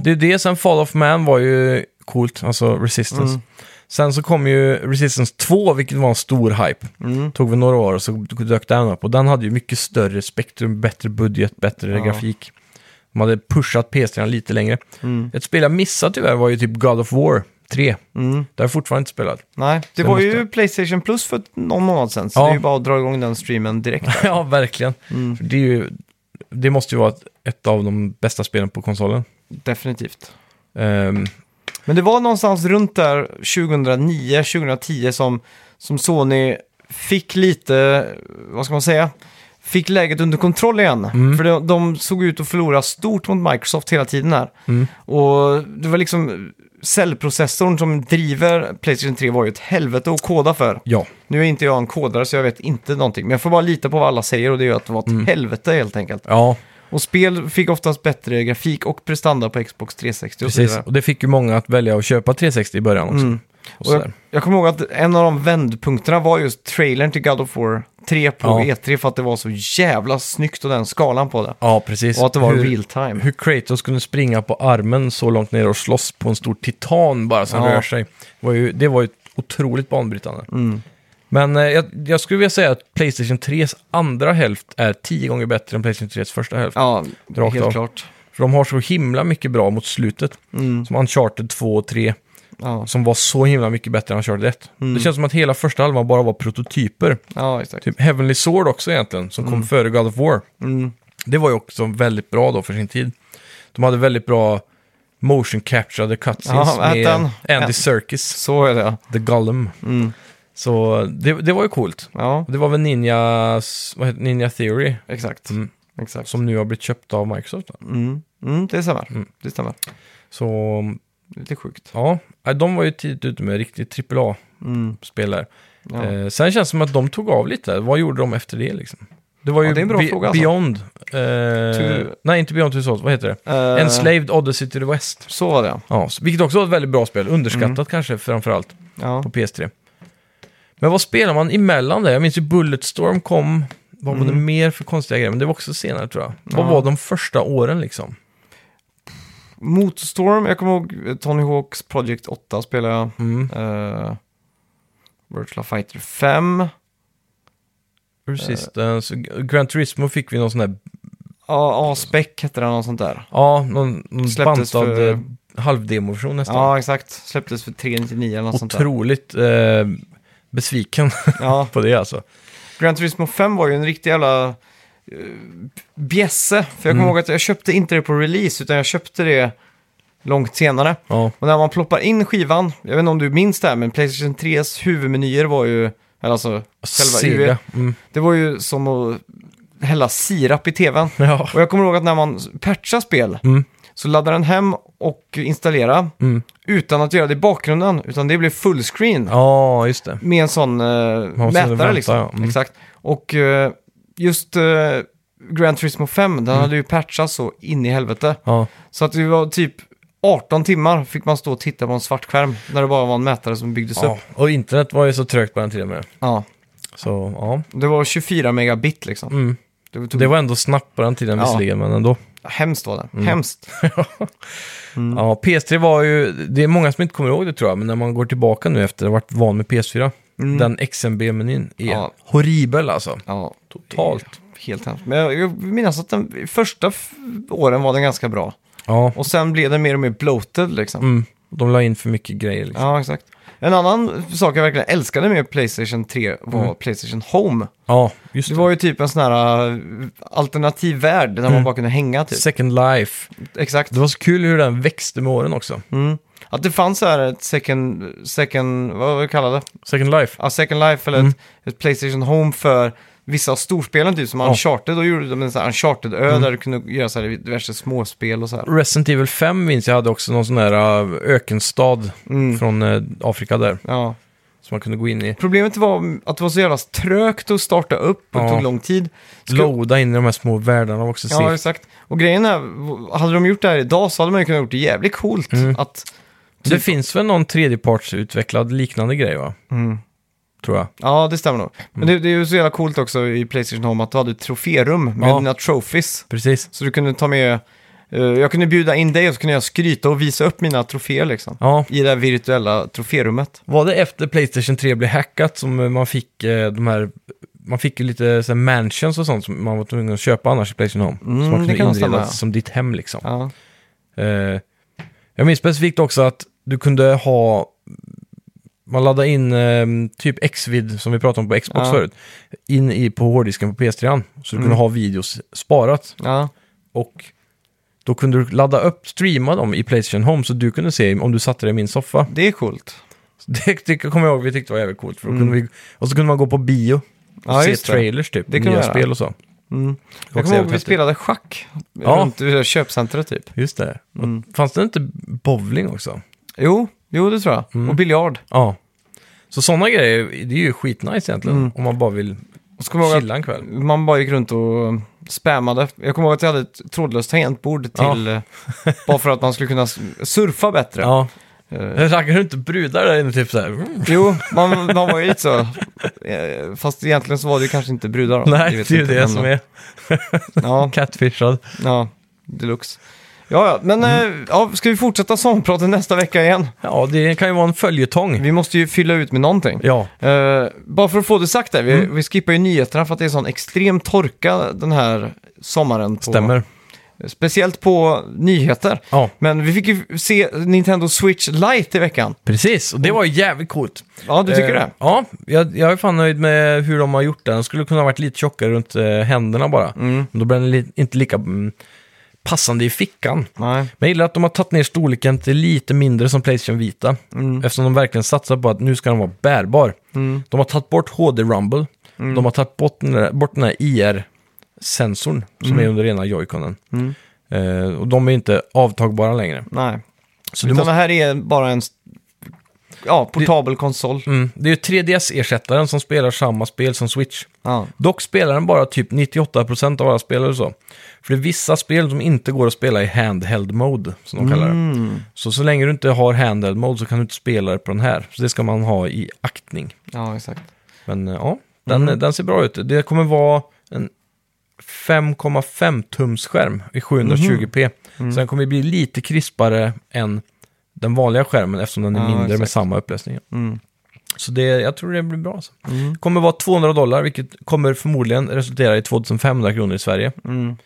det är det. Sen Fall of Man var ju coolt, alltså Resistance. Mm. Sen så kom ju Resistance 2, vilket var en stor hype. Mm, Tog väl några år och så dök den upp. Och den hade ju mycket större spektrum, bättre budget, bättre Ja. grafik. De hade pushat PS3 lite längre. Mm. Ett spel jag missade tyvärr var ju typ God of War 3. Mm. Det har jag fortfarande inte spelat. Nej, det Så var måste- ju Playstation Plus för någon månad sedan. Så Ja. det är ju bara att dra igång den streamen direkt. Mm. ja, verkligen. För det, är ju, det måste ju vara ett, ett av de bästa spelen på konsolen. Definitivt. Ehm, Men det var någonstans runt där 2009, 2010 som, som Sony fick lite, vad ska man säga, fick läget under kontroll igen. För de, de såg ut att förlora stort mot Microsoft hela tiden här. mm. Och det var liksom cellprocessorn som driver Playstation 3 var ju ett helvete att koda för. ja, Nu är inte jag en kodare så jag vet inte någonting. Men jag får bara lita på vad alla säger och det är ju att det var ett helvete helt enkelt. ja Och spel fick oftast bättre grafik och prestanda på Xbox 360 och så precis. vidare. Och det fick ju många att välja att köpa 360 i början också. Och Mm. Och jag, sådär. jag kommer ihåg att en av de vändpunkterna var just trailern till God of War 3 på Ja. E3 för att det var så jävla snyggt och den skalan på det. Ja, precis. Och att det var hur, real time. Hur Kratos kunde springa på armen så långt ner och slåss på en stor titan bara som Ja. rör sig. Det var ju, det var ju otroligt banbrytande. Mm. Men eh, jag, jag skulle vilja säga att Playstation 3s andra hälft är tio gånger bättre än Playstation 3s första hälft. Ja, Rakt helt av. klart. Mm. För de har så himla mycket bra mot slutet. Som Uncharted 2 och 3, Ja, som var så himla mycket bättre än Uncharted 1. Mm. Det känns som att hela första halvan bara var prototyper. ja exakt. Typ Heavenly Sword också egentligen, som Mm. kom före God of War. Det var ju också väldigt bra då för sin tid. De hade väldigt bra motion capturade cutscenes Ja, Mm. vad med hette han? Andy Ä- Serkis, Så är det. The Gollum. Så det, det var ju coolt. Ja, Det var väl Ninja, vad heter, Ninja Theory, exakt. Mm. Exakt. som nu har blivit köpt av Microsoft. då. Mm. Mm, det stämmer. Det stämmer. Så Lite sjukt. Ja, nej, de var ju tidigt ute med riktigt Mm, Eh, AAA-spel där. Eh, sen känns det som att de tog av lite. Vad gjorde de efter det liksom? Det var ju Ja, det är en bra Be- fråga, alltså. Beyond... Eh, To- Nej, inte Beyond Two Souls, vad heter det? Eh, Enslaved Odyssey to the West. Så var det, Ja, s- vilket också var ett väldigt bra spel. Underskattat Mm. kanske framförallt ja. på PS3. Men vad spelar man emellan det? Jag minns ju Bulletstorm kom. Vad var det mer för konstiga grejer? Men det var också senare tror jag. Vad Mm. Ja. var de första åren liksom? Motorstorm, jag kommer ihåg Tony Hawks Project 8 spelade jag. Mm. Eh, Virtual Fighter 5. Resistance, Eh, Gran Turismo fick vi någon sån där, Ja, A-Spec hette det, något sånt där. ja, någon, någon bantad Släpptes för- för... halvdemoversion nästan. Ja, exakt. Släpptes för 399 eller något sånt där. Otroligt eh, besviken Ja. på det alltså. Gran Turismo 5 var ju en riktig jävla uh, bjässe. Mm. För jag kommer ihåg att jag köpte inte det på release, utan jag köpte det långt senare. Ja, Och när man ploppar in skivan, jag vet inte om du minns det här, men Playstation 3s huvudmenyer var ju, eller alltså själva Sega. UI, Mm. det var ju som att hälla sirap i tvn. Ja. Och jag kommer ihåg att när man patchar spel Mm. så laddar den hem och installera Mm. utan att göra det i bakgrunden, utan det blir fullscreen ja, just det. med en sån eh, måste mätare vänta, liksom. ja. Mm. Exakt. Och eh, just eh, Grand Turismo 5, den Mm. hade ju patchats så in i helvete. Ja. Så att det var typ 18 timmar fick man stå och titta på en svart skärm när det bara var en mätare som byggdes ja, upp. och internet var ju så trögt på den tiden med. Ja. Så ja, Det var 24 megabit liksom. mm. Det tog det Mm. var ändå snabbt på den tiden Ja. visserligen, men ändå. Hemskt var det. Hemskt. Mm. Ja, PS3 var ju, det är många som inte kommer ihåg det tror jag, men när man går tillbaka nu efter att ha varit van med PS4, den XMB-menyn är Mm. Ja. horribel alltså. Ja, Totalt. helt hemskt. Men jag, jag minns att den första f- åren var den ganska bra. Ja, Och sen blev den mer och mer bloated liksom. mm. de la in för mycket grejer liksom. Ja, exakt. En annan sak jag verkligen älskade med Playstation 3 var Playstation Home. Ja, Mm. just Det det. Mm. var ju typ en sån här äh, alternativ värld där man bara kunde hänga typ. Second Life. Exakt. Det var så kul hur den växte med åren också. Mm. Att det fanns så här ett second, second vad var det kallade? Second Life. Ja, second life eller Mm. ett, ett Playstation Home för vissa av storspelen typ som Ja. Mm. Uncharted. Då gjorde de en sån här Uncharted-ö där du kunde göra så här diverse småspel och så här. Resident Evil 5 minns jag hade också någon sån där äh, ökenstad Mm. från eh, Afrika där. Ja. Som man kunde gå in i. Problemet var att det var så jävla trögt att starta upp och det Ja. tog lång tid. Ska- Loada in i de här små världarna var också Ja, ja, exakt. Och grejen är, hade de gjort det här idag så hade man ju kunnat gjort det jävligt coolt. Mm. Att, Det finns väl någon tredjepartsutvecklad liknande grej va? Tror jag. ja, det stämmer nog. Men Mm. det, det är ju så jävla coolt också i Playstation Home att du hade ett troférum med Ja. dina trophies. Precis. Så du kunde ta med, eh, jag kunde bjuda in dig och så kunde jag skryta och visa upp mina troféer liksom. Ja, I det här virtuella troférummet. var det efter Playstation 3 blev hackat som eh, man fick eh, de här... Man fick ju lite så här mansions och sånt som man var tvungen att köpa annars i Playstation Home. Mm, som man det kunde kan inreda stämma, ja. som ditt hem liksom. Ja, Eh, jag minns specifikt också att du kunde ha... Man laddade in eh, typ Xvid som vi pratade om på Xbox Ja. Mm. förut. In i, på hårddisken på PS3. Så du kunde ha videos sparat. ja. Och då kunde du ladda upp, streama dem i Playstation Home. Så du kunde se om du satte dig i min soffa. det är coolt. Så Det, det kommer jag ihåg, vi tyckte det var jävligt coolt. För då kunde vi, och så kunde man gå på bio och Mm. Ja, se just det. trailers typ. Det kunde nya jag göra. spel och så. Det Mm. var Jag också kommer ihåg jävligt vi häftigt. spelade schack Ja. runt i köpcentret typ. Just det. Och Fanns det inte bowling också? Jo, jo det tror jag. Mm. Och biljard. Ja. Så sådana grejer, det är ju skitnice egentligen. Mm. Om man bara vill Och så kommer jag ihåg att chilla en kväll. Man bara gick runt och spammade. Jag kommer ihåg att jag hade ett trådlöst tangentbord till... eh, bara för att man skulle kunna s- surfa bättre. Ja. Eh, Raggar du inte brudar där inne typ så här? Mm. jo, man, man var ju lite så. Eh, fast egentligen så var det ju kanske inte brudar. då. Nej, vet det är ju inte, det men- som är Ja, catfishad. ja deluxe. Ja, ja, men Mm. eh, ja, ska vi fortsätta sångpratet nästa vecka igen? Ja, det kan ju vara en följetong. Vi måste ju fylla ut med någonting. Ja, Eh, bara för att få det sagt där, vi, vi skippar ju nyheterna för att det är sån extrem torka den här sommaren. På, stämmer. Speciellt på nyheter. Ja, Men vi fick ju se Nintendo Switch Lite i veckan. precis. Och det var ju jävligt coolt. Ja, du tycker Eh, det? Ja, jag, jag är fan nöjd med hur de har gjort den. Den skulle kunna ha varit lite tjockare runt eh, händerna bara. Mm. Men då blir den li- inte lika mm, passande i fickan. Nej. Men jag gillar att de har tagit ner storleken till lite mindre som Playstation Vita. Mm. Eftersom de verkligen satsar på att nu ska den vara bärbar. De har tagit bort HD Rumble. Mm. De har tagit bort den där, bort den där IR-sensorn som Mm. är under ena joyconen. Eh, och de är inte avtagbara längre. Nej. Så du Utan måste, det här är bara en... s- ja, portabel konsol. Mm. Det är ju 3DS-ersättaren som spelar samma spel som Switch. Ja. Dock spelar den bara typ 98% av alla spelare så. För det är vissa spel som inte går att spela i handheld mode, som de kallar Mm. det. Så så länge du inte har handheld mode så kan du inte spela det på den här. Så det ska man ha i aktning. ja, exakt. Men eh, ja, den, Mm. den ser bra ut. Det kommer vara en 5,5 tums skärm i Mm. 720p. Så den kommer bli lite krispare än den vanliga skärmen eftersom den är Ja, mindre med exakt. samma upplösning. Mm. Så det, jag tror det blir bra. Alltså. Mm. kommer vara 200 dollar, vilket kommer förmodligen resultera i 2500 kronor i Sverige. Mm.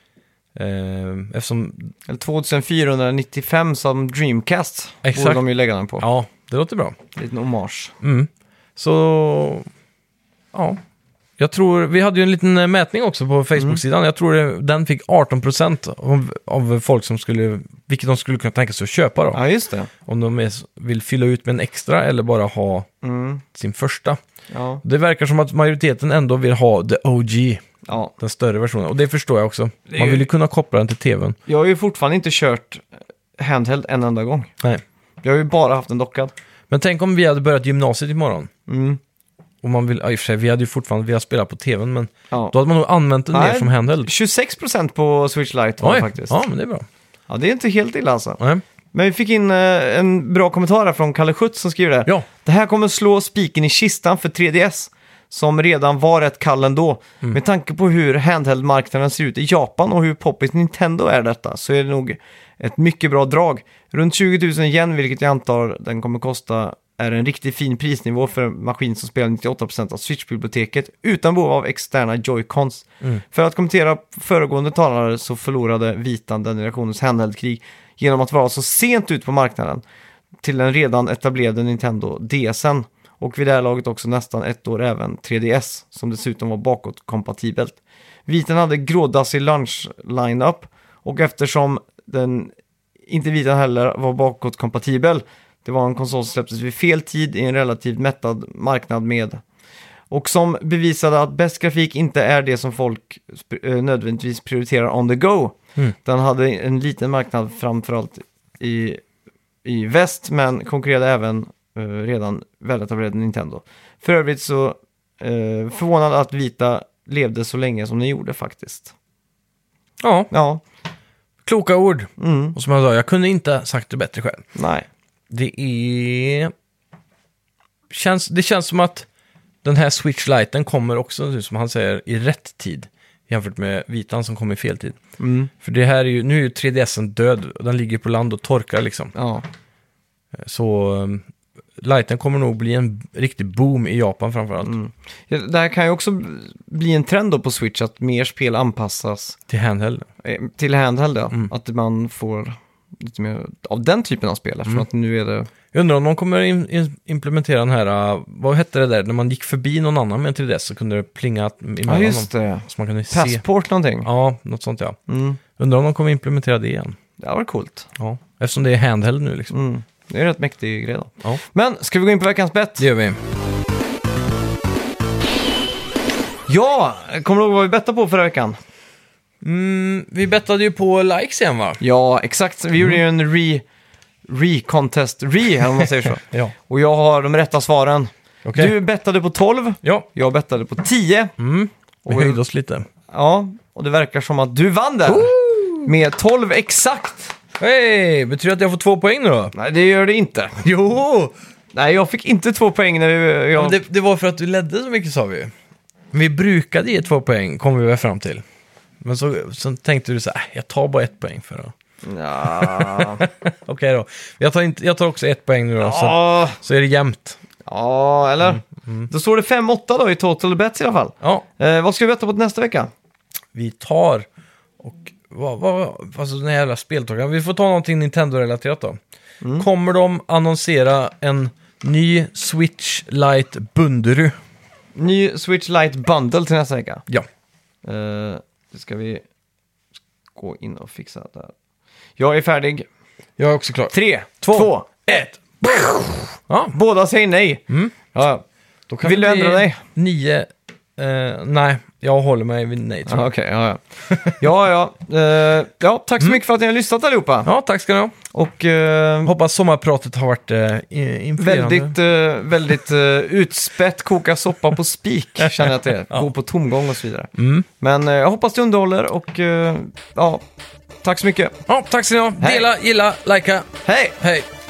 Eh, eftersom, Eller 2495 som Dreamcast Exakt. borde de ju lägga den på. ja, det låter bra. Liten hommage. Mm. Så, ja. Jag tror, vi hade ju en liten eh, mätning också på Facebook-sidan. Mm. Jag tror det, den fick 18% av, av folk som skulle, vilket de skulle kunna tänka sig att köpa då. Ja, just det. Om de är, vill fylla ut med en extra eller bara ha Mm. sin första. Ja. Det verkar som att majoriteten ändå vill ha the OG, ja, den större versionen. Och det förstår jag också. är Man ju- vill ju kunna koppla den till tvn. jag har ju fortfarande inte kört handheld en enda gång. Nej. Jag har ju bara haft en dockad. Men tänk om vi hade börjat gymnasiet imorgon. Mm. Och man vill, ja, i och för sig, vi hade ju fortfarande velat spela på tvn, men Ja. då hade man nog använt den Nej. mer som handheld. 26% på Switch Lite var det faktiskt. ja men det är bra. Ja, det är inte helt illa alltså. Nej. Men vi fick in eh, en bra kommentar här från Kalle Schütz som skriver det. Ja, Det här kommer slå spiken i kistan för 3DS, som redan var rätt kall ändå. Med tanke på hur handheld-marknaden ser ut i Japan och hur poppis Nintendo är detta, så är det nog ett mycket bra drag. Runt 20 000 yen, vilket jag antar den kommer kosta, är en riktigt fin prisnivå för en maskin som spelar 98% av Switch-biblioteket utan behov av externa joycons. För att kommentera föregående talare så förlorade vitan den generationens handheldkrig genom att vara så sent ut på marknaden till den redan etablerade Nintendo DSen och vid det här laget också nästan ett år även 3DS som dessutom var bakåtkompatibelt. Viten hade grådassig lunch lineup och eftersom den inte viten heller var bakåtkompatibel det var en konsol som släpptes vid fel tid i en relativt mättad marknad med och som bevisade att bäst grafik inte är det som folk sp- eh, nödvändigtvis prioriterar on the go. Mm. Den hade en liten marknad framförallt i i väst, men konkurrerade även eh, redan väletablerade Nintendo. För övrigt så eh, förvånad att Vita levde så länge som den gjorde faktiskt. ja Ja, kloka ord. mm, Och som jag sa, jag kunde inte ha sagt det bättre själv. nej. Det är... Känns, det känns som att den här Switch Lite kommer också, nu som han säger, i rätt tid. Jämfört med vitan som kom i fel tid. Mm, För det här är ju, nu är ju 3DSen död, den ligger på land och torkar liksom. ja, Så um, Liten kommer nog bli en riktig boom i Japan framförallt. mm. Ja, Det här kan ju också bli en trend då på Switch att mer spel anpassas Till handheld. eh, till handheld. ja. Mm. Att man får lite mer av den typen av spel eftersom Mm. att nu är det... Jag undrar om de kommer in, in, implementera den här, uh, vad hette det där, när man gick förbi någon annan med en 3DS så kunde det plinga Ja, emellan just dem. det. Så man kunde se. Passport någonting. Ja, något sånt ja. Mm. Undrar om de kommer implementera det igen. Det var coolt. Ja, eftersom det är handheld nu liksom. Mm. Det är en rätt mäktig grej då. Ja. Men ska vi gå in på veckans bett? Det gör vi. Ja, kommer du ihåg vad vi bettade på förra veckan? Mm, vi bettade ju på likes igen va? Ja, exakt. Vi gjorde Mm. ju en re, re-contest, re, eller om man säger så. Ja. Och jag har de rätta svaren. Okej. Du bettade på 12, Ja. jag bettade på 10. Mm. Vi Och- höjde oss lite. Ja, och det verkar som att du vann där. Med 12 exakt. Hej! Betyder det att jag får två poäng nu då? Nej, det gör det inte. Jo! Nej, jag fick inte två poäng när vi- Men jag... det, det var för att du ledde så mycket sa vi ju. Men Vi brukade ge två poäng, kom vi väl fram till. Men så, sen tänkte du så här, "Äh, jag tar bara ett poäng för det. Ja. Okej då. Jag tar, inte, jag tar också ett poäng nu då, så, Ja, så är det jämnt. ja, eller? Mm, Då står det 5-8 då i total bets i alla fall. Ja, Eh, vad ska vi betta på till nästa vecka? vi tar och... Vad, vad, alltså den här jävla speltågaren. Vi får ta någonting Nintendo-relaterat då. Kommer de annonsera en ny Switch Lite Bunduru? Ny Switch Lite Bundle till nästa vecka. Ja. Eh, det ska vi gå in och fixa där. Jag är färdig. Jag är också klar. Tre, Två. två Ett! Ja, Mm. båda säger nej. Ja, Då kan Vill det du bli ändra dig? Nio... eh, nej, Jag håller mig vid nej, tror Ja, jag. Okej, ja, ja. Ja, ja. Eh, ja, tack så mycket för att ni har lyssnat allihopa. Mm. Ja, tack ska ni ha. Och eh, Hoppas sommarpratet har varit eh, i- influerande. väldigt, eh, väldigt eh, utspätt koka soppa på spik, känner jag att det är. Ja. Gå på tomgång och så vidare. Mm. Men eh, jag hoppas det underhåller och eh, ja, tack så mycket. Ja, tack ska ni ha. Hej. Dela, gilla, likea. Hej! Hej!